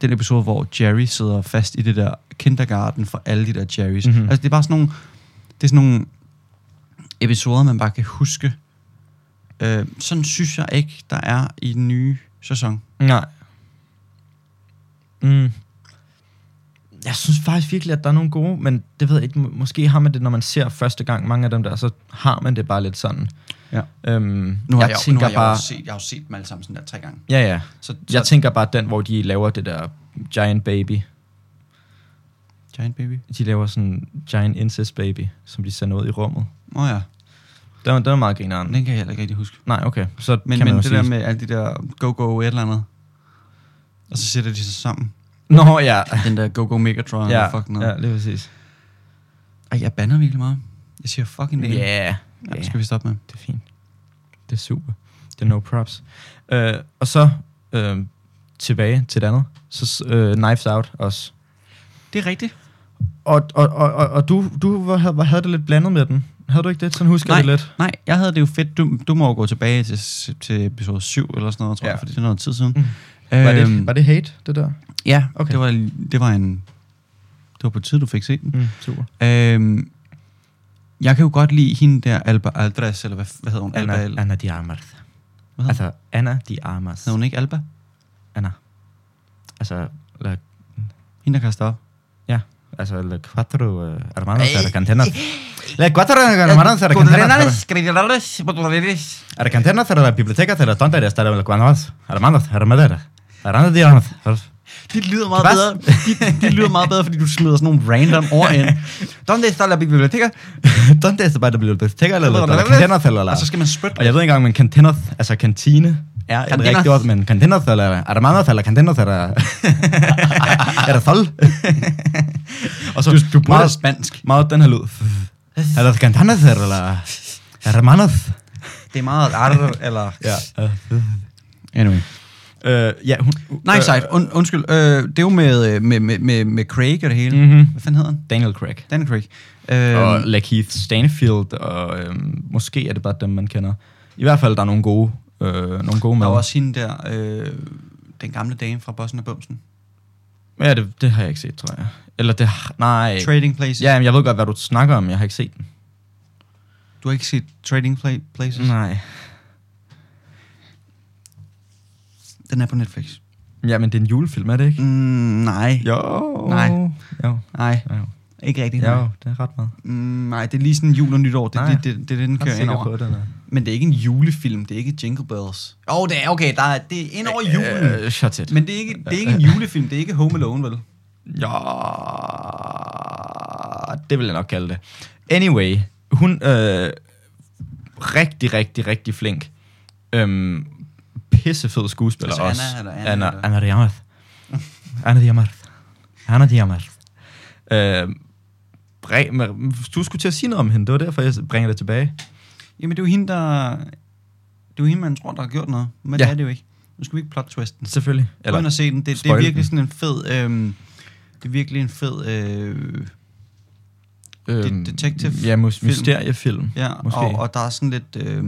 den episode, hvor Jerry sidder fast i det der kindergarten for alle de der Jerrys. Mm-hmm. Mhm. Altså, det er bare sådan nogle, det er sådan nogle episoder, man bare kan huske. Øh, sådan synes jeg ikke, der er i den nye sæson. Nej. Mm. Jeg synes faktisk virkelig, at der er nogle gode, men det ved jeg ikke. Må- Måske har man det, når man ser første gang mange af dem der, så har man det bare lidt sådan. Ja. Øhm, nu jeg, jeg tænker nu har bare... jeg, også set, jeg har jo set dem alle sammen sådan der tre gange. Ja, ja. Så, så Jeg tænker bare den, hvor de laver det der giant baby. Giant Baby. De laver sådan giant incest baby, som de sender ud i rummet. Nå oh, ja, Den var, den var meget grineren. den kan jeg heller ikke rigtig huske. Nej, okay. Så Men, kan men man jo det sige. der med alle de der go-go et eller andet. Og så sætter de sig sammen. Nå, ja. Den der go-go Megatron ja, og fuck Ja, noget. Ja. ja, lige præcis. Ej, jeg bander virkelig meget. Jeg siger fucking Ja. name. Yeah. Yeah. Ja, det skal vi stoppe med. Det er fint. Det er super. Det er no props. Øh, og så øh, tilbage til det andet. Så øh, Knives Out også. Det er rigtigt. Og, og, og, og, og du, du var- havde, havde det lidt blandet med den. Havde du ikke det? Sådan husker jeg det lidt. Nej, jeg havde det jo fedt. Du, du må jo gå tilbage til, til episode 7 eller sådan noget, tror ja. Ja. jeg, fordi det er noget tid siden. Øhm, Mm. Var, det, var det hate, det der? Ja, okay. Okay. det, var, det var en... Det var på tid, du fik set den. Mm, super. Øhm, jeg kan jo godt lide hende der, Alba Aldres, eller hvad, hvad hedder hun? Alba, Anna, eller, Anna de Armas. hvad hedder hun? Altså, Anna de Armas. Hedder hun ikke Alba? Anna. Altså, la, Hende, der kaster op. altså, la cuatro uh, hermanos argentenas. La cuatro hermanos argentenas. Argentenas era la biblioteca de las tonterías de los cuanos. Hermanos, hermaderas. Hermanos de Armas. De lyder meget Hvad? bedre. De, de, lyder meget bedre, fordi du smider sådan nogle random ord ind. Donde está la biblioteca? Donde está la biblioteca? Eller, eller, eller, Blablabla. cantinas, eller, eller. Og så skal man spytte. Og jeg ved ikke engang, men cantinas, altså kantine, Ah, er et Cantinas. rigtigt ord, men cantinas, eller armanos, eller cantinas, eller... er der sol? og så du, du meget meget, spansk. meget den her lyd. Er der cantinas, eller hermanos? Det er meget ar eller... Ja. Anyway. Eh, Øh, ja, hun, Nej, sejt. Und, undskyld. Øh, det er jo med, øh, med, med, med, med Craig og det hele. Mhm. Hvad fanden hedder han? Daniel Craig. Dan Craig. Øh, og Lakeith Stanfield, og øhm, måske er det bare dem, man kender. I hvert fald, der er nogle gode, øh, nogle gode der med. var også hende der, øh, den gamle dame fra Bossen og Bumsen. Ja, det, det har jeg ikke set, tror jeg. Eller det har- Nej. Trading Places. Ja, men jeg ved godt, hvad du snakker om. Jeg har ikke set den. Du har ikke set Trading Pla- Places? Nej. Den er på Netflix. Ja, men det er en julefilm, er det ikke? Mm, nej. Jo. Nej. Jo. Nej, Jo. ikke rigtigt. jo, det er ret meget. Mm, nej, det er lige sådan jul og nytår. Det, Nej. det, det, det, det er det, den Jeg er kører ind sikker over. på, at den er. Men det er ikke en julefilm, det er ikke Jingle Bells. Åh, oh, det er okay, der er, det er ind over julen. Øh, shut it. Men det er, ikke, det er ikke en julefilm, det er ikke Home Alone, vel? Ja. det vil jeg nok kalde det. Anyway, hun øh, rigtig, rigtig, rigtig flink. Øhm, pissefed skuespiller Altså også. Anna, eller Anna, Anna, eller- Anna Diamarth. Anna Diamarth. Anna Diamarth. Øhm, re- men du skulle til at sige noget om hende, det var derfor, jeg bringer det tilbage. Jamen, det er jo hende, der... Det er jo hende, man tror, der har gjort noget, men ja. Ja. det er det jo ikke. Nu skal vi ikke plot twist den. Selvfølgelig. Gå ind og se den. Det, det er spoil virkelig den. sådan en fed... Øhm, det er virkelig en fed... Øh, det- detective- øhm, Ja, mus- film. mysteriefilm. ja, Måske. og, og der er sådan lidt øh,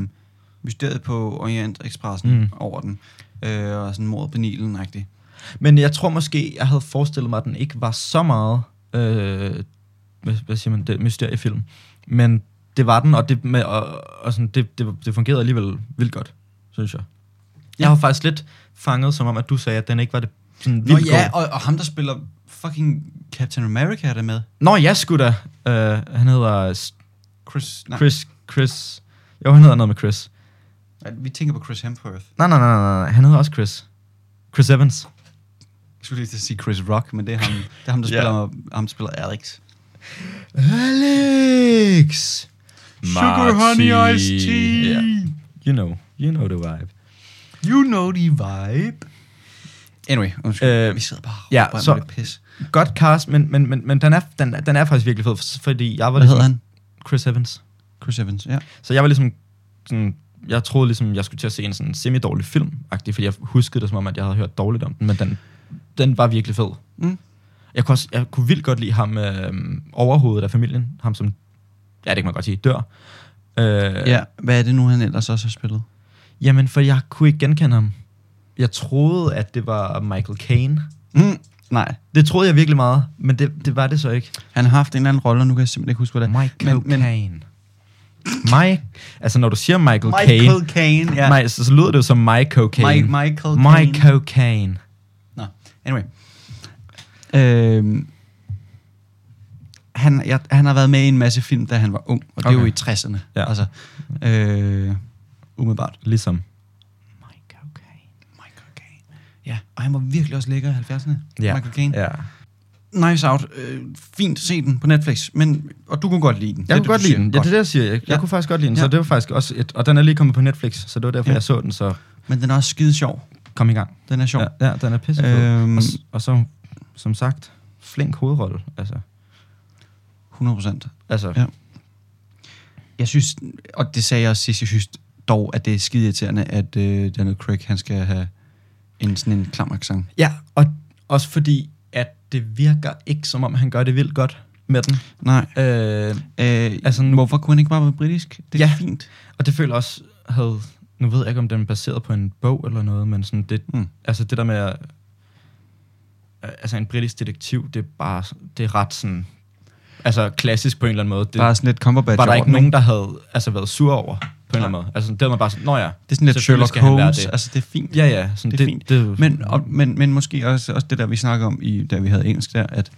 mysteriet på Orient Expressen mm. Mm. over den. Øh, og sådan mordet på Nilen, rigtig. Men jeg tror måske, jeg havde forestillet mig, at den ikke var så meget, øh, hvad, hvad siger man, det, mysteriefilm. Men det var den, og det, med, og, og sådan, det, det, det fungerede alligevel vildt godt, synes jeg. Jeg har faktisk lidt fanget, som om, at du sagde, at den ikke var det sådan Nå vildt ja, god. og, og ham, der spiller fucking Captain America, er der med. Nå ja, sgu da. Øh, han hedder S- Chris... Nej, Chris. Chris, Chris. Jo, han hedder noget med Chris. vi tænker på Chris Hemsworth. Nej, nej, nej, nej, nej. Han hedder også Chris. Chris Evans. Jeg skulle lige til at sige Chris Rock, men det er ham, det er ham der, Ja. spiller, ham, der spiller Alex. Alex! Ja. Yeah. You know, you know the vibe. You know the vibe. Anyway, undskyld, øh, Øh, vi sidder bare og ja, ja, så- så, det pis. Godt cast, men, men, men, men den, er, den, er- den er faktisk virkelig fed, fordi jeg var Hvad ligesom hedder han? Chris Evans. Chris Evans, ja. Så jeg var ligesom sådan, jeg troede ligesom, jeg skulle til at se en sådan semi-dårlig film fordi jeg huskede det som om, at jeg havde hørt dårligt om den, men den, den var virkelig fed. Mm. Jeg kunne, også, jeg kunne vildt godt lide ham øh, overhovedet af familien, ham som, ja det kan man godt sige, dør. Øh, ja. Hvad er det nu, han ellers også har spillet? Jamen, for jeg kunne ikke genkende ham. Jeg troede, at det var Michael Caine. Mm, nej, Det troede jeg virkelig meget, men det, det var det så ikke. han har haft en eller anden rolle, og nu kan jeg simpelthen ikke huske, hvad det er. Michael Men- men- Caine. Mike, altså når du siger Michael, Caine, Caine, ja. nej, så, så lyder det jo som Mike Cocaine. Mike, Michael Caine. Mike Cocaine. Nå, anyway. Øhm, han, jeg, han har været med i en masse film, da han var ung, og det okay. er jo i Okay. 60'erne. Ja. Altså, øh, umiddelbart. Ligesom. Mike Cocaine. Michael Caine. Ja, og han var virkelig også lækker i 70'erne. Ja. Michael Caine. Ja. Nice Out. Øh, fint, se den på Netflix. Men, og du kunne godt lide den. Jeg Det er kunne det, godt du lide siger. den. Ja, det er det, jeg siger. Jeg, jeg Ja. kunne faktisk godt lide den, Ja. så det var faktisk også et, og den er lige kommet på Netflix, så det var derfor, Ja. jeg så den, så Men den er også skide sjov. kom i gang. Den er sjov. Ja. Ja, ja den er pissefed. Øhm. Øhm. Og, s- og så, som sagt, flink hovedrolle. Altså, 100 procent. altså Ja. Jeg synes, og det sagde jeg også sidst, jeg synes dog, at det er skide irriterende, at øh, Daniel Craig, han skal have en sådan en klam accent. Ja, og også fordi, at det virker ikke, som om han gør det vildt godt med den. Nej. Øh, Øh, altså, Altså nu... nu- Hvorfor kunne han ikke bare være britisk? Det er ja. Ja. fint. og det føler jeg også havde... Nu ved jeg ikke, om den er baseret på en bog eller noget, men sådan det, Mm. mm. altså det der med... at- Altså en britisk detektiv, det er bare... Det er ret sådan... Altså klassisk på en eller anden måde. Det, Bare sådan lidt Cumberbatch var der over ikke den, nogen, der havde altså, været sur over på en eller anden Nej. måde. Altså, det var man bare sådan, nå ja, Det er sådan lidt Sherlock selvfølgelig skal han være Holmes. det. Altså, det er fint. ja ja, sådan, Det er fint. Det, Men, og, men, men måske også, også det der, vi snakker om, i, da vi havde engelsk der, at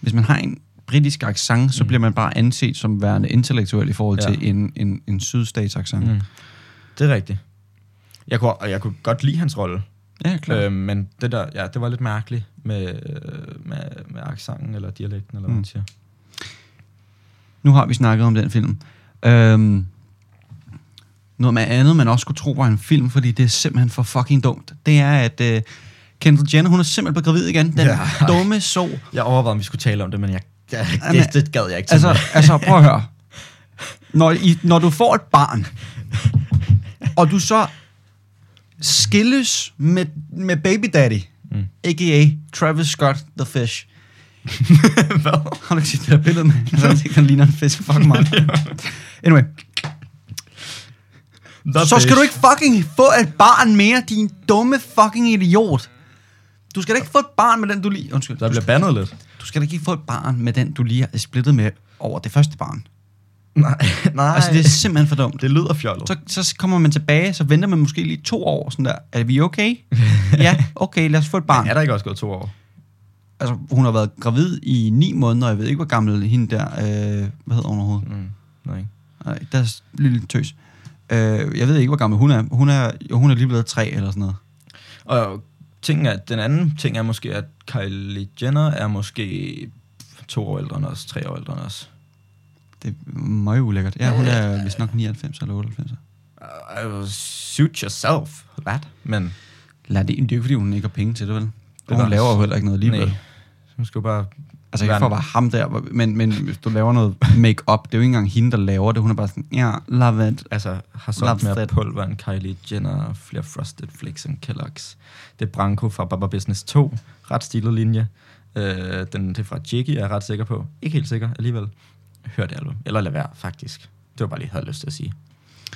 hvis man har en britisk accent, så mm. bliver man bare anset som værende intellektuel i forhold ja. Ja. til en, en, en sydstats accent. Mm. mm, det er rigtigt. Jeg kunne, og jeg kunne godt lide hans rolle. Ja, klart. Øh, men det der, ja, det var lidt mærkeligt med, øh, med, med accenten eller dialekten, eller hvad Mm. man siger. Nu har vi snakket om den film. Øhm, noget med andet, man også skulle tro var en film, fordi det er simpelthen for fucking dumt, det er, at øh, Kendall Jenner, hun er simpelthen blevet gravid igen. Den ja. Ja. dumme så. Jeg overvejede, om vi skulle tale om det, men jeg, jeg, Jamen, det, det gad jeg ikke til Altså, med. altså prøv at høre. Når, I, når du får et barn, og du så skilles med, med baby daddy, mm. Mm. a.k.a. Travis Scott the Fish. Hvad? Har du ikke set det der billede med? Altså, jeg tænker, han ligner en fisk fucking meget. Anyway, så The skal fish. du ikke fucking få et barn mere, din dumme fucking idiot. Du skal da ikke få et barn med den, du lige... Undskyld. Der Du bliver bandet lidt. Du skal da ikke få et barn med den, du lige er splittet med over det første barn. Nej, nej. Altså, det er simpelthen for dumt. det lyder fjollet. Så, så kommer man tilbage, så venter man måske lige to år, sådan der, er vi okay? ja, okay, lad os få et barn. er der ikke også gået to år? Altså, hun har været gravid i ni måneder, og jeg ved ikke, hvor gammel hende der, øh, hvad hedder hun overhovedet? Mm, nej. Nej, der er lille tøs. Øh, jeg ved ikke, hvor gammel hun er. Hun er, jo, hun er lige blevet tre eller sådan noget. Og tingen er, den anden ting er måske, at Kylie Jenner er måske to år ældre end os, tre år ældre end os. Det er meget ulækkert. Ja, hun er vist nok 99 eller 98. Uh, suit yourself, lad. Men Lad det, det er jo fordi, hun ikke har penge til det, vel? Det er hun der- laver jo heller ikke noget alligevel. nej. Hun skal jo bare... Altså ikke for at være ham der, hvor- men, men hvis du laver noget make-up, det er jo ikke engang hende, der laver det. Hun er bare sådan, ja, love it. Altså, har Love solgt mere that. pulver end Kylie Jenner og flere Frosted Flakes end Kellogg's. Det er Branko fra Baba Business 2. Ret stilet linje. Øh, den det er fra Jiggy, er jeg ret sikker på. Ikke helt sikker alligevel. Hør det album. Eller lad være, faktisk. Det var bare lige, jeg havde lyst til at sige.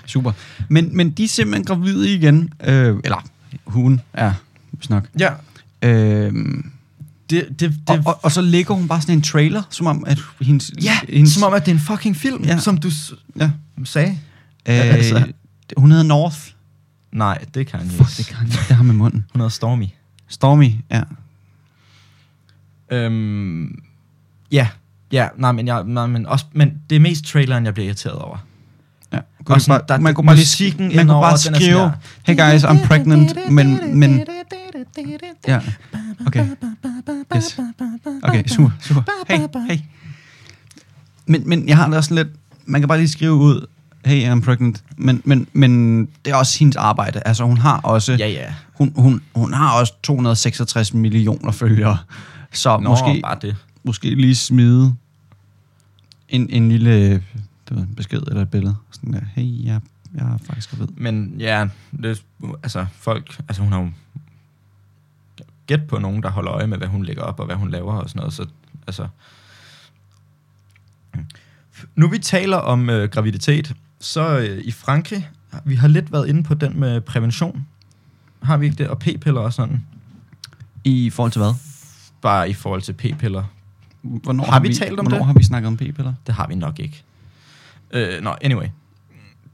Super. Men, men de er simpelthen gravide igen. Øh, eller hun er, hvis nok. Ja, Øh, det, det, det, og, og, og, så lægger hun bare sådan en trailer, som om, at hendes... ja hendes som om, at det er en fucking film, Ja. ja. som du s- Ja. sagde. øh, altså. altså. Hun hedder North. Nej, det kan jeg Fuck, det kan det har med munden. Hun hedder Stormy. Stormy, ja. Øhm, ja, ja, nej, men, jeg, nej, men, også, men det er mest traileren, jeg bliver irriteret over. ja. Og du sådan, der- man kunne bare lige musikken man kunne indover, bare den er sådan skrive, der. hey guys, I'm pregnant, men, men, ja, okay. Yes. Okay, super, super. Hey, hey. Men, men jeg har det også sådan lidt, man kan bare lige skrive ud, hey, I'm pregnant, men, men, men det er også hendes arbejde. Altså, hun har også, Ja, ja. hun, hun, hun har også 266 millioner følgere, så Nå, måske, bare det. måske lige smide en, en lille øh, det ved, en besked eller et billede. Sådan der, hey, jeg, jeg er faktisk gravid. Men ja, det, altså folk, altså hun har jo gæt på nogen, der holder øje med, hvad hun lægger op og hvad hun laver og sådan noget, så altså... Nu vi taler om øh, graviditet, så øh, i Frankrig, vi har lidt været inde på den med prævention. Har vi ikke det? Og p-piller og sådan. I forhold til hvad? Bare i forhold til p-piller. Hvornår Har vi talt om hvornår det? har vi snakket om p-piller? Det har vi nok ikke. Øh, Nå, anyway.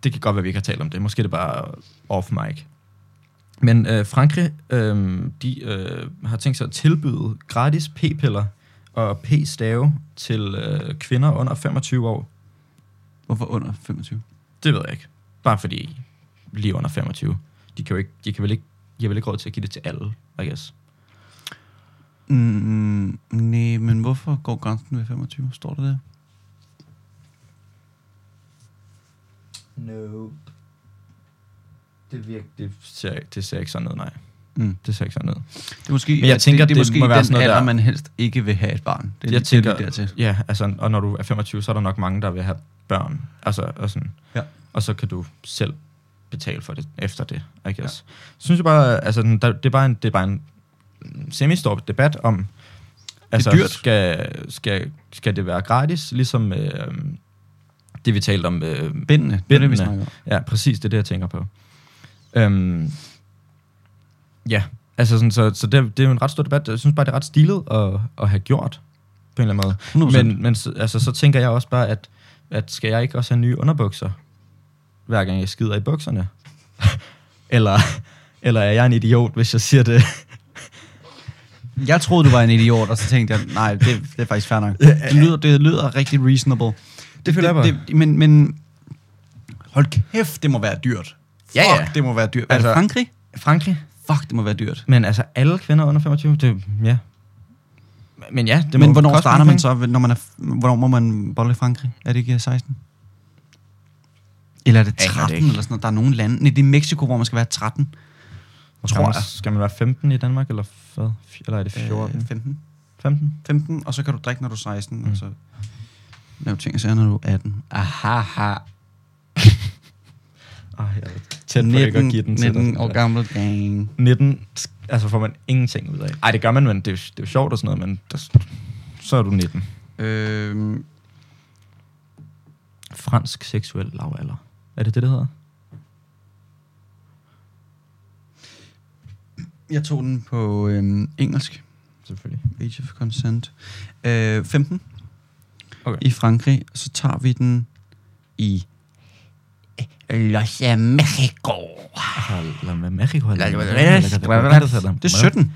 Det kan godt være, vi ikke har talt om det. Måske er det bare off mic. Men øh, Frankrig, øh, de øh, har tænkt sig at tilbyde gratis p-piller og p-stave til øh, kvinder under 25 år. Hvorfor under 25? Det ved jeg ikke. Bare fordi lige under 25. De kan jo ikke, de kan vel ikke, de har vel ikke råd til at give det til alle, I guess. Mm, nej, men hvorfor går grænsen ved 25? Står der der? No. Det, virker, det, ser, det ser ikke sådan ud, nej. Mm. Det ser ikke sådan ud. Det er måske, Men jeg tænker, det, det er det måske må være den sådan noget alder, der- man helst ikke vil have et barn. Det er jeg lige- det er tænker, lige dertil. ja, altså, og når du er 25, så er der nok mange, der vil have børn. Altså, og, sådan. Ja. og så kan du selv betale for det efter det, I guess. Ja. Synes jeg bare, altså, den- der, det er bare en, det er bare en semi-stor debat om, altså, dyrt. Skal, skal, skal det være gratis, ligesom øh, det, vi talte om øh, Bindende, det er det, vi Bindende. snakker om. Ja, præcis, det er det, jeg tænker på. Øhm, ja, altså sådan, så, så det, det er jo en ret stor debat. Jeg synes bare, det er ret stilet at, at have gjort, på en eller anden 100%. måde. Men, men så- altså, så tænker jeg også bare, at, at skal jeg ikke også have nye underbukser, hver gang jeg skider i bukserne? eller, eller er jeg en idiot, hvis jeg siger det? Jeg troede, du var en idiot, og så tænkte jeg, nej, det, det er faktisk fair nok. Det lyder, det lyder rigtig reasonable. Det føler jeg det, men, men hold kæft, det må være dyrt. Fuck, Ja, ja. det må være dyrt. Altså, er Altså- det Frankrig? Frankrig? Fuck, det må være dyrt. Men altså, alle kvinder under 25, det, ja. Men ja, det Det men må hvornår koste starter nogle man så, penge. når man er, hvornår må man bolle i Frankrig? Er det ikke øh, 16? Eller er det Aner det 13 ikke. eller sådan noget? Der er nogle lande. Nej, det er Mexico, hvor man skal være 13. Skal tror man- jeg. Skal man være 15 i Danmark, eller hvad? F- Eller er det 14? Øh, 15. 15? 15, og så kan du drikke, når du er 16, mm. og så lave ting og sager, når du er 18. Aha, ha. Ej, jeg er tæt på ikke at give den til 19 dig. år gammel gang. 19, altså får man ingenting ud af. Ej, det gør man, men det er, jo- det er jo sjovt og sådan noget, men der, så er du 19. Øh, Fransk seksuel lavalder. Er det det, det hedder? jeg tog den på øh, engelsk, Selvfølgelig. Age of Consent. Øh, 15 Okay. i Frankrig, og så tager vi den i Los Mexico. Altså, Det er 17.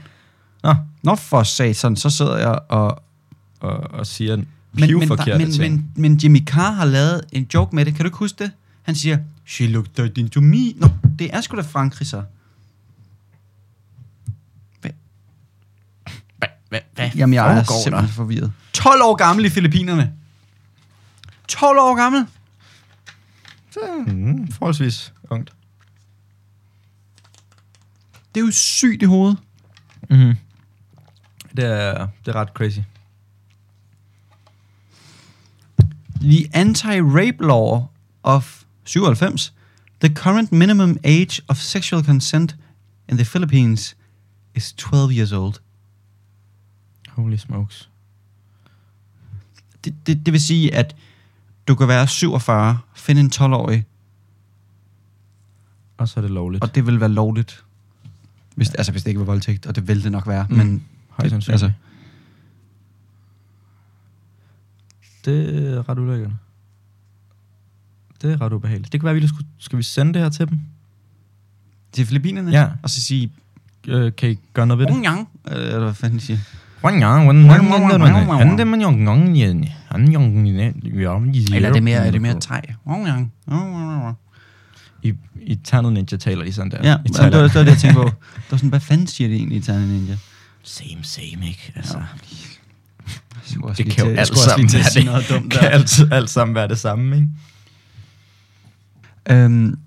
Nå, Nå for satan, så sidder jeg og... og, og siger en Men, men, der, pivforkerte men, ting. men, men Jimmy Carr har lavet en joke med det. Kan du ikke huske det? Han siger, she looked right into me. Nå, det er sgu da Frankrig så. Hva- hva- hvad Jamen, jeg er foregår der? simpelthen forvirret. 12 år gammel i Filippinerne. 12 år gammel. Mm, forholdsvis ungt. Det er jo sygt i hovedet. Mm-hmm. Det, er, det er ret crazy. The Anti-Rape Law of 97, the current minimum age of sexual consent in the Philippines is 12 years old. Holy smokes. Det, det, det vil sige, at du kan være 47, finde en 12-årig, Og så er det lovligt. og det vil være lovligt. Hvis, altså, hvis det ikke var voldtægt, og det vil det nok være. Mm. Mm. Men Højst sandsynligt. altså- Det er ret ulækkert. Det er ret ubehageligt. Det kan være, at vi lige skulle, skal vi sende det her til dem? til Filippinerne, Ja. og så sige, Øh, kan I gøre noget ved det? Ung Yang, øh, eller hvad fanden de siger. Eller er det mere, er det mere thai? Ung Yang. I, I Ternet Ninja taler de sådan der. Ja, I men det var det, var det, jeg tænkte på. Det var sådan, hvad fanden siger det egentlig i Ternet Ninja? Same, same, ikke? Altså, Jeg skulle også det lige kan jo til- jeg alt skulle også sammen lige til at være sige noget det. dumt Kan der. alt, alt sammen være det samme, ikke? Øhm,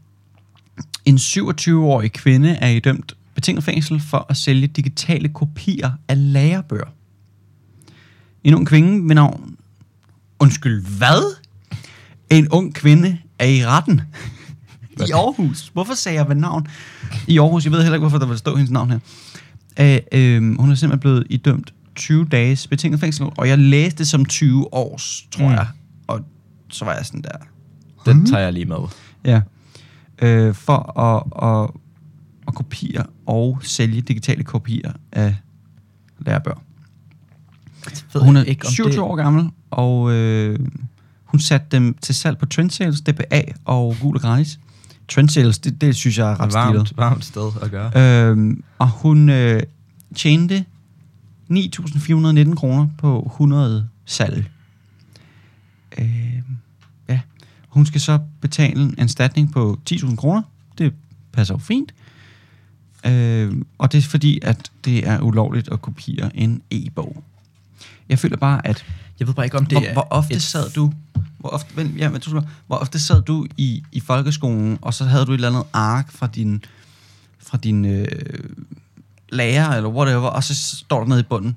en 27-årig kvinde er i dømt betinget fængsel for at sælge digitale kopier af lagerbøger. En ung kvinde ved navn... Undskyld, hvad? En ung kvinde er i retten. I Aarhus. Hvorfor sagde jeg ved navn? I Aarhus. Jeg ved heller ikke, hvorfor der vil stå hendes navn her. Øh, øh, hun er simpelthen blevet idømt 20 dages betinget fængsel, og jeg læste det som 20 års, tror Mm. jeg. Og så var jeg sådan der... Hm? Den tager jeg lige med. Ja. Øh, for at, at, at kopiere og sælge digitale kopier af lærebøger. Hun er ikke, 27 år gammel, og øh, hun satte dem til salg på Trendsales, DBA og Gul og Gratis. Trendsales, det, det synes jeg er ret stilet. Varmt, varmt sted at gøre. Øhm, og hun øh, tjente 9.419 kroner på 100 salg. Øh, ja. Hun skal så betale en erstatning på 10.000 kroner. Det passer jo fint. Øh, og det er fordi, at det er ulovligt at kopiere en e-bog. Jeg føler bare, at Jeg ved bare ikke, om det hvor, er... hvor ofte et- sad du hvor ofte, vent, ja, men, du skal- hvor ofte sad du i, i folkeskolen, og så havde du et eller andet ark fra din, fra din øh, lærer, eller whatever, og så står der nede i bunden,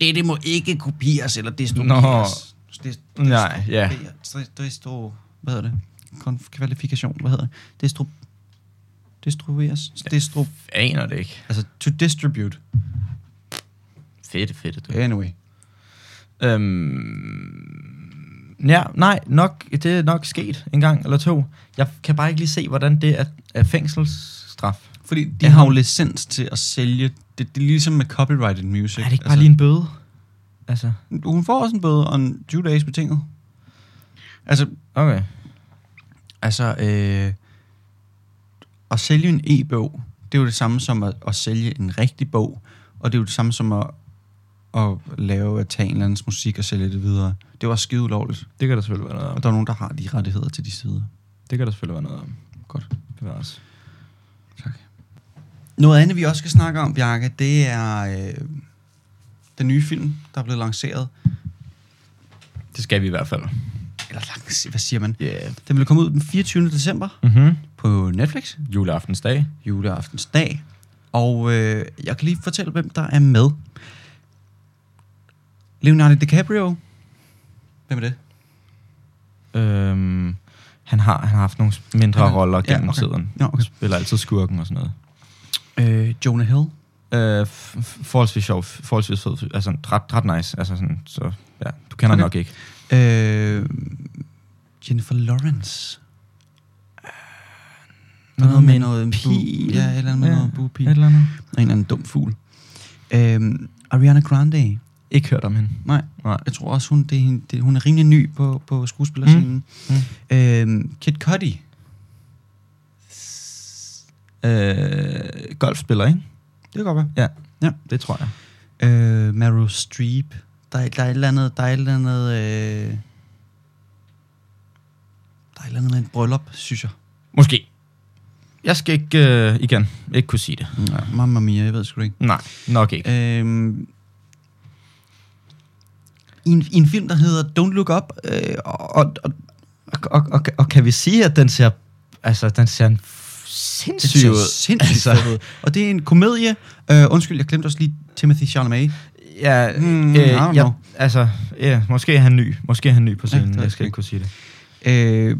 det, det må ikke kopieres, eller destrueres. Det, det, Nej, ja. Destro, hvad hedder det? Konf- Kvalifikation, hvad hedder det? Destro, destrueres? Destro, Aner det ikke. altså to distribute. Fedt, fedt. Du. Anyway. Øhm, ja, nej, nok, det er nok sket en gang eller to. Jeg kan bare ikke lige se, hvordan det er, er fængselsstraf. Fordi de Er har jo hun- licens til at sælge. Det, det er ligesom med copyrighted music. Er det ikke bare lige en bøde? Altså, lige... Hun får også en bøde og en 20 dages betinget. Altså, okay. altså øh, at sælge en e-bog, det er jo det samme som at, at sælge en rigtig bog, og det er jo det samme som at, at lave, at tage en eller andens musik og sælge det videre. Det var skide ulovligt, Det kan der selvfølgelig være noget om. og der er nogen, der har de rettigheder til de sider. Det kan der selvfølgelig være noget om. Godt. Det var også. Noget andet, vi også skal snakke om, Bjarke, det er øh, den nye film, der er blevet lanceret. Det skal vi i hvert fald. Eller langs, hvad siger man? Ja. Yeah. Den vil komme ud den 24. december Mm-hmm. på Netflix, Juleaftensdag. juleaftens dag. Og øh, jeg kan lige fortælle, hvem der er med. Leonardo DiCaprio. Hvem er det? Øhm, han, har, han har haft nogle mindre Han- roller ja, gennem okay. tiden. Ja, okay. Spiller altid skurken og sådan noget. Øh, Jonah Hill. Øh, f- f- forholdsvis sjov, forholdsvis fed, fyr. altså ret, ret nice, altså sådan, så ja, du kender Okay. okay. nok ikke. Øh, Jennifer Lawrence. Der er Noget Øh, noget med med noget en pil. bu- Ja, et eller andet med Ja, noget bupil. Et eller andet. Og en eller anden dum fugl. Øh, Ariana Grande. Ikke hørt om hende. Nej, Nej. jeg tror også, hun, det, er hende- det, hun er rimelig ny på, på skuespillerscenen. Mm. Mm. Øh, Kid Cudi. Øh, golfspiller, ikke? Det kan godt være. Ja. Ja. Det tror jeg. Øh, Meryl Streep. Der er, der er et eller andet... Der er et eller andet... Øh, der er et eller andet med en bryllup, synes jeg. Måske. Jeg skal ikke, øh, igen, ikke kunne sige det. Ja. Øh, Mamma mia, jeg ved sgu det ikke. Nej, nok Øh, ikke. Øhm, i en, i en film, der hedder Don't Look Up, øh, og, og, og Og, og, og, og kan vi sige, at den ser, altså, den ser en f- det sindssyg ser ud? sindssygt Altså. altså. ud. Og det er en komedie. Øh, undskyld, jeg glemte også lige Timothy Chalamet. Ja, Hmm, mm, I øh, don't ja, know. altså, ja, måske er han ny. Måske er han ny på Ja, scenen. det er Ja, jeg skal rigtigt. ikke kunne sige det. Øh,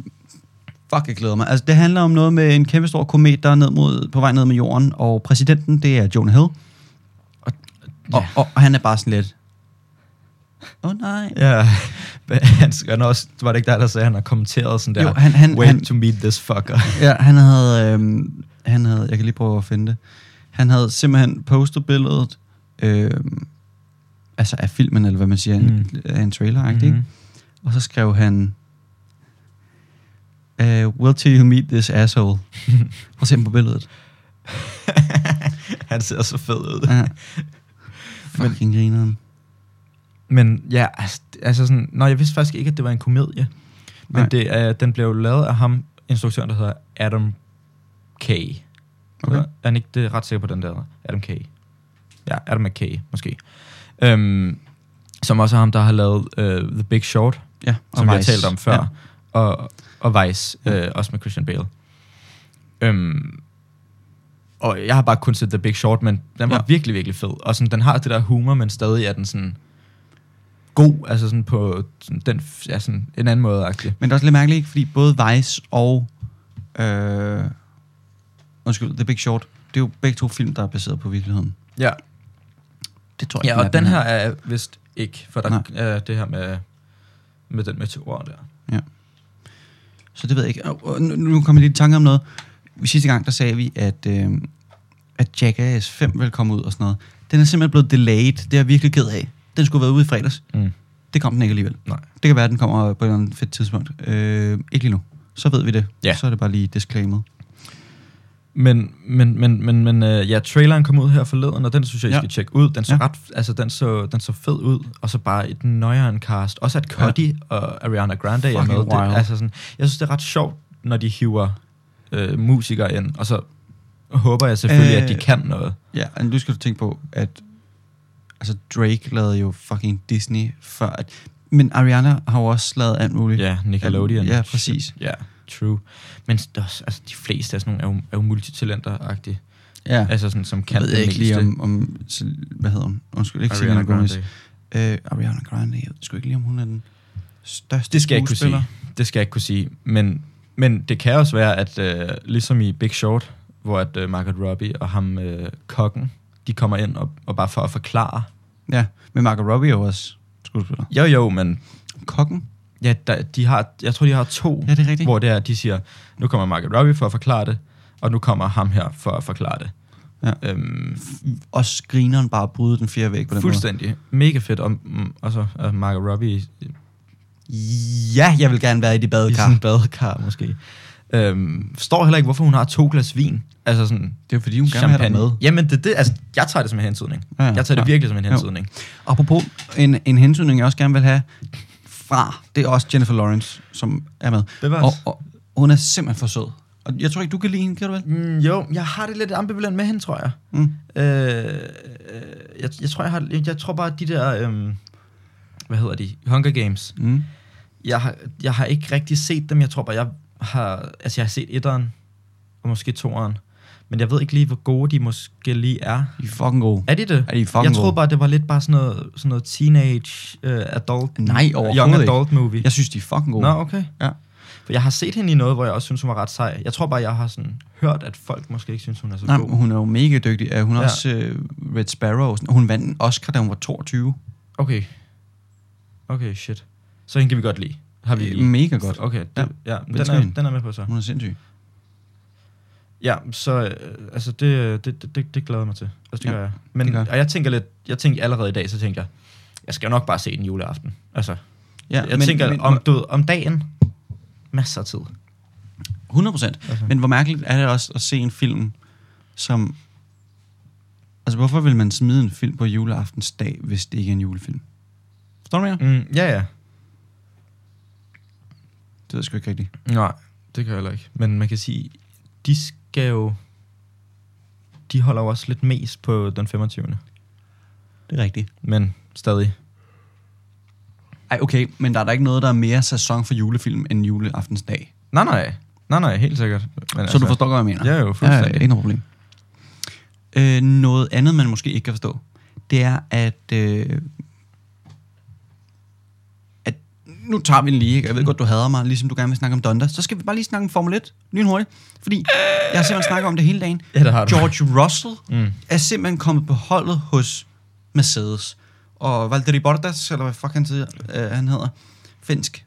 fuck, jeg glæder mig. Altså, det handler om noget med en kæmpe stor komet, der er ned mod, på vej ned med jorden, og præsidenten, det er Jonah Hill. Og, ja. og, og, og han er bare sådan lidt... Åh oh, nej. Ja, men han, han er også, var det ikke der, der sagde, at han har kommenteret sådan der, Jo, han- han- wait han- to meet this fucker. Ja, han havde, øh, han havde... Jeg kan lige prøve at finde det. Han havde simpelthen postet billedet øh, altså af filmen, eller hvad man siger, mm. en, af en trailer, mm-hmm. ikke? Mhm. Og så skrev han, uh, Will till you meet this asshole. Prøv at se ham på billedet. han ser så fed ud. Ja. Fucking grineren. Men ja, altså, altså sådan, nej, jeg vidste faktisk ikke, at det var en komedie. Nej. Men det, er, den blev jo lavet af ham, instruktøren, der hedder Adam K. Okay. Er han ikke det er ret sikker på den der? Adam K. Ja, Adam McKay, måske. Øhm, som også er ham, der har lavet øh, The Big Short, Ja, og som vi har Vice. talt om før, Ja. ja. og, og Vice, øh, også med Christian Bale. Øhm, og jeg har bare kun set The Big Short, men den var Ja. ja. virkelig, virkelig fed. Og sådan, den har det der humor, men stadig er den sådan god, altså sådan på sådan, den, f- ja, sådan en anden måde. -agtig. Men det er også lidt mærkeligt, ikke? fordi både Vice og... Øh, undskyld, The Big Short, det er jo begge to film, der er baseret på virkeligheden. Ja, Det tror jeg ja ikke, og den her er vist ikke, for der Nej. er det her med, med den meteor der. Så det ved jeg ikke. Og, og nu, nu kommer jeg lige i tanke om noget. Sidste gang, der sagde vi, at, øh, at Jackass 5 ville komme ud og sådan noget. Den er simpelthen blevet delayed. Det er jeg virkelig ked af. Den skulle have været ude i fredags. Mm. Det kom den ikke alligevel. Nej. Det kan være, at den kommer på et eller andet fedt tidspunkt. Øh, ikke lige nu. Så ved vi det. Ja. Så er det bare lige disclaimet. Men, men, men, men, men øh, ja, traileren kom ud her forleden, og den synes jeg, I Ja. ja. skal tjekke ud. Den så, Ja. ja. ret, altså, den, så, den så fed ud, og så bare et nøjeren cast. Også at Cuddy ja. og Ariana Grande er med. Fucking wild. Det, altså sådan, jeg synes, det er ret sjovt, når de hiver øh, musikere ind, og så håber jeg selvfølgelig, øh, at de Øh. kan noget. Ja, og nu skal du tænke på, at altså Drake lavede jo fucking Disney før. At, men Ariana har jo også lavet alt muligt. Ja, Nickelodeon. Ja, præcis. Ja, true. Men det er også- altså, de fleste af sådan nogle er jo, er jo multitalenter-agtige. Ja. Altså sådan, som kan Jeg ved det jeg ikke lige meste. om, om, Sil- hvad hedder hun? Undskyld, ikke Ariana Ariana Selena Gomez. Grande. Øh, Ariana Grande, jeg ved sgu ikke lige, om hun er den største Det skal jeg ikke kunne skuespiller. sige. Det skal jeg ikke kunne sige. Men, men det kan også være, at øh, ligesom i Big Short, hvor at, øh, Margaret Robbie og ham øh, kokken, de kommer ind og, og bare for at forklare. Ja, men Margot Robbie er jo også skuespiller. Jo jo, men Kokken? ja, der, de har, jeg tror, de har to, Ja, det er rigtigt. hvor det er, at de siger, nu kommer Margaret Robbie for at forklare det, og nu kommer ham her for at forklare det. Ja. Øhm, Og grineren bare bryde den fjerde væg på den fuldstændig. Mega fedt. Og, mm, og så er Margaret Robbie måde. Ja, jeg vil gerne være i det i badekar. sådan en badekar, måske. Øhm, forstår heller ikke, hvorfor hun har to glas vin. Altså sådan, Det er jo fordi, hun gerne vil have champagne. dig med. Jamen, det, det, altså, jeg tager det som en hensydning. Ja, Ja, ja, ja, jeg tager det ja. virkelig som en Jo. hensydning. Apropos en, en hensynning, jeg også gerne vil have fra, det er også Jennifer Lawrence, som er med. Det var og, også- og, hun er simpelthen for sød. Og jeg tror ikke, du kan lide hende, kan du vel? Mm, jo, jeg har det lidt ambivalent med hende, tror jeg. Mm. Øh, øh, jeg, jeg, tror, jeg, har, jeg, jeg tror bare, at de der... Øhm, hvad hedder de? Hunger Games. Mm. Jeg har, jeg har ikke rigtig set dem. Jeg tror bare, jeg har... Altså, jeg har set etteren, og måske toeren. Men jeg ved ikke lige, hvor gode de måske lige er. De er fucking gode. Er de det? Er de fucking jeg gode? troede bare, det var lidt bare sådan noget, sådan noget teenage, øh, adult, Nej, overhovedet young ikke. adult movie. Jeg synes, de er fucking gode. Nå, okay. Ja. For jeg har set hende i noget, hvor jeg også synes, hun var ret sej. Jeg tror bare, jeg har sådan hørt, at folk måske ikke synes, hun er så Nej, god. men hun er jo mega dygtig. Øh, Hun er ja. Ja. også øh, Red Sparrow. og sådan- Hun vandt en Oscar, da hun var 22. Okay. Okay, shit. Så hende kan vi godt lide. Har vi lige. Mega godt. Okay, det, Ja. ja. ja den, tager hende. er, den er med på så. Hun er sindssyg. Ja, så øh, altså det, det, det- det, det glæder jeg mig til. Altså, Ja, det ja, gør jeg. Men det gør jeg. og jeg tænker lidt, jeg tænkte allerede i dag, så tænkte jeg, jeg skal jo nok bare se den juleaften. Altså, ja, jeg men, tænker men, om, du, ved, om dagen, masser af tid. 100 procent. Altså. Men hvor mærkeligt er det også at se en film, som... Altså, hvorfor vil man smide en film på juleaftensdag, hvis det ikke er en julefilm? Forstår du, hvad jeg mener? Mm, ja, ja. Det ved jeg sgu ikke rigtigt. Nej, det kan jeg heller ikke. Men man kan sige, de skal jo... De holder jo også lidt mest på den 25. Det er rigtigt. Men stadig. Ej, okay, men der er da ikke noget, der er mere sæson for julefilm end juleaftensdag. Nej, nej. Nej, nej, helt sikkert. Men altså- Så du forstår godt, hvad jeg mener? Ja, jo, fuldstændig. Ja, ja, ikke noget problem. Øh, noget andet, man måske ikke kan forstå, det er, at... Øh, at nu tager vi den lige, ikke? Jeg ved godt, du hader mig, ligesom du gerne vil snakke om Donda. Så skal vi bare lige snakke om Formel 1, lynhurtigt. Fordi jeg har simpelthen snakket om det hele dagen. Ja, det har du. George Russell Mm. mm. er simpelthen kommet på holdet hos Mercedes. Og Valtteri Bottas, eller hvad fuck han, siger, øh, han hedder, finsk.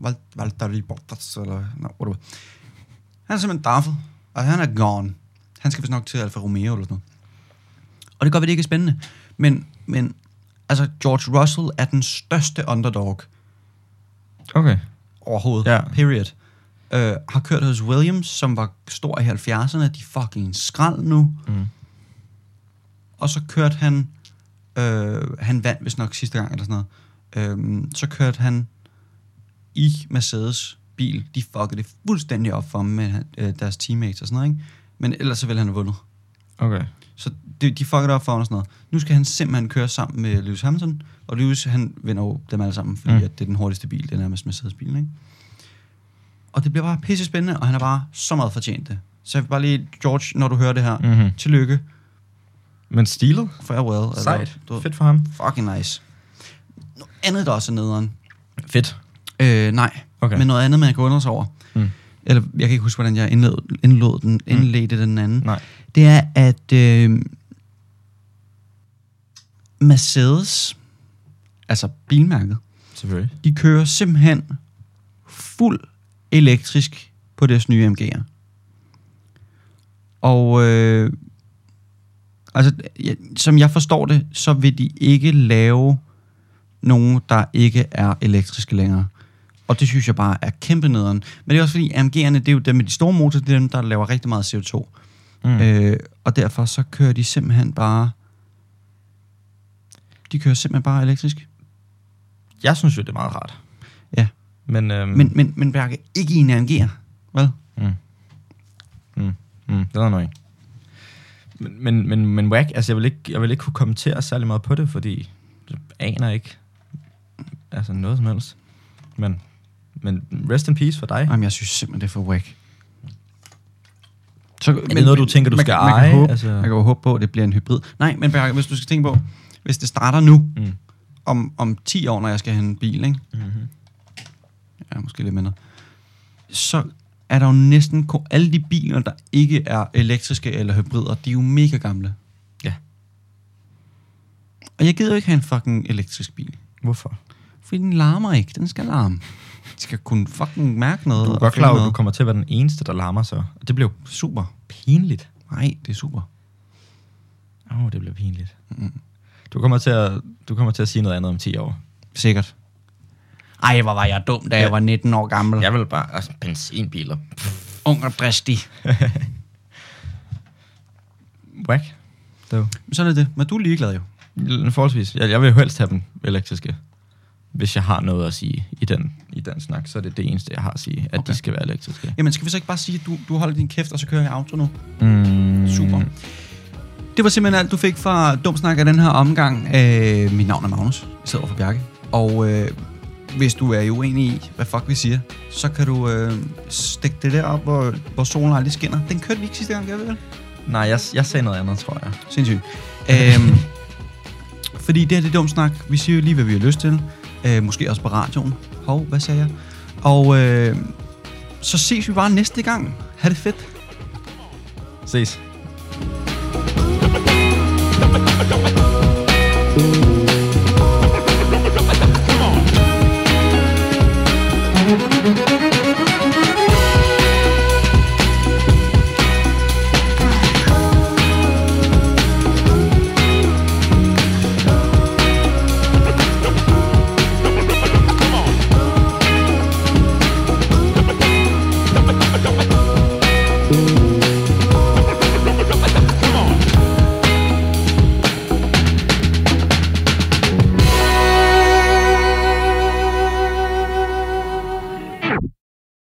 Val- Valtteri Bottas, eller no, whatever. Han er simpelthen daffet, og han er gone. Han skal vist nok til Alfa Romeo eller sådan noget. Og det gør, at det ikke er spændende. Men, men altså, George Russell er den største underdog Okay. overhovedet. Ja. Period. Øh, har kørt hos Williams, som var stor i 70'erne. De er fucking skrald nu. Mm. Og så kørte han... Øh, han vandt vist nok sidste gang, eller sådan noget. Øh, så kørte han i Mercedes bil. De fuckede det fuldstændig op for ham med øh, deres teammates og sådan noget, ikke? Men ellers så ville han have vundet. Okay. Så de, de fuckede op for ham og sådan noget. Nu skal han simpelthen køre sammen med Lewis Hamilton, og Lewis, han vinder jo dem alle sammen, fordi Mm. mm. at det er den hurtigste bil, det er nærmest Mercedes-bilen, ikke? Og det bliver bare pisse spændende, og han er bare så meget fortjent det. Så jeg vil bare lige, George, når du hører det her, mm. Mm-hmm. tillykke, Men stilet? farewell. eller- Sejt. Du, Fedt for ham. fucking nice. Noget andet, der også er nederen. Fedt. Øh, nej, Okay. men noget andet, man kan undre sig over. Mm. Eller, jeg kan ikke huske, hvordan jeg indled, indlod den, indledte den anden. Nej. det er, at øh, Mercedes, altså bilmærket, Selvfølgelig. de kører simpelthen fuld elektrisk på deres nye MG'er. Og øh, altså, ja, som jeg forstår det, så vil de ikke lave nogen, der ikke er elektriske længere. Og det synes jeg bare er kæmpe nederen. Men det er også fordi, AMG'erne, det er jo dem med de store motorer, det er dem, der laver rigtig meget CO2. Mm. Mm. Øh, og derfor så kører de simpelthen bare... De kører simpelthen bare elektrisk. Jeg synes jo, det er meget rart. Ja. Men, øhm, Men, men, men Bjarke, ikke i en AMG'er, vel? Mm, mm, det er nok men, men, men, men whack, altså jeg vil, ikke, jeg vil ikke kunne kommentere særlig meget på det, fordi jeg aner ikke altså noget som helst. Men, men rest in peace for dig. Jamen, jeg synes simpelthen, det er for whack. Så, er det noget, du tænker, du man, skal man, eje? Kan håbe, Altså- altså... Man kan jo håbe på, at det bliver en hybrid. Nej, men Bjarke, hvis du skal tænke på, hvis det starter nu, Mm. om, om 10 år, når jeg skal have en bil, ikke? Mm-hmm. Ja, måske lidt mindre. Så er der jo næsten... kun- Alle de biler, der ikke er elektriske eller hybrider, de er jo mega gamle. Ja. Og jeg gider jo ikke have en fucking elektrisk bil. Hvorfor? Fordi den larmer ikke. Den skal larme. Den skal kunne fucking mærke noget. Du er og godt føle klar over, at noget. du kommer til at være den eneste, der larmer sig. Og det blev Super. pinligt. Nej, det er super. Åh, oh, det blev pinligt. Mm. Du, kommer til at, du kommer til at sige noget andet om 10 år. Sikkert. Ej, hvor var jeg dum, da Ja. jeg var 19 år gammel. Ja. Jeg vil bare... Altså, benzinbiler. Ung og dristig. Whack. Det Sådan er det. Men du er ligeglad jo. L- Forholdsvis. Jeg, jeg vil jo helst have dem elektriske. Hvis jeg har noget at sige i den, i den snak, så er det det eneste, jeg har at sige, at okay. Okay. de skal være elektriske. Jamen, skal vi så ikke bare sige, at du, du holder din kæft, og så kører jeg auto nu? Mm. Super. Det var simpelthen alt, du fik fra Dumsnak af den her omgang. Øh, mit navn er Magnus. Jeg sidder over for Bjarke. Og øh, hvis du er uenig i, hvad fuck vi siger, så kan du øh, stikke det der op, hvor, hvor solen aldrig skinner. Den kørte vi ikke sidste gang, gør vi vel? Nej, jeg, jeg sagde noget andet, tror jeg. Sindssygt. Øhm, fordi det her det er dumt snak. Vi siger jo lige, hvad vi har lyst til. Øh, måske også på radioen. Hov, hvad sagde jeg? Og øh, så ses vi bare næste gang. Ha' det fedt. Ses. Don't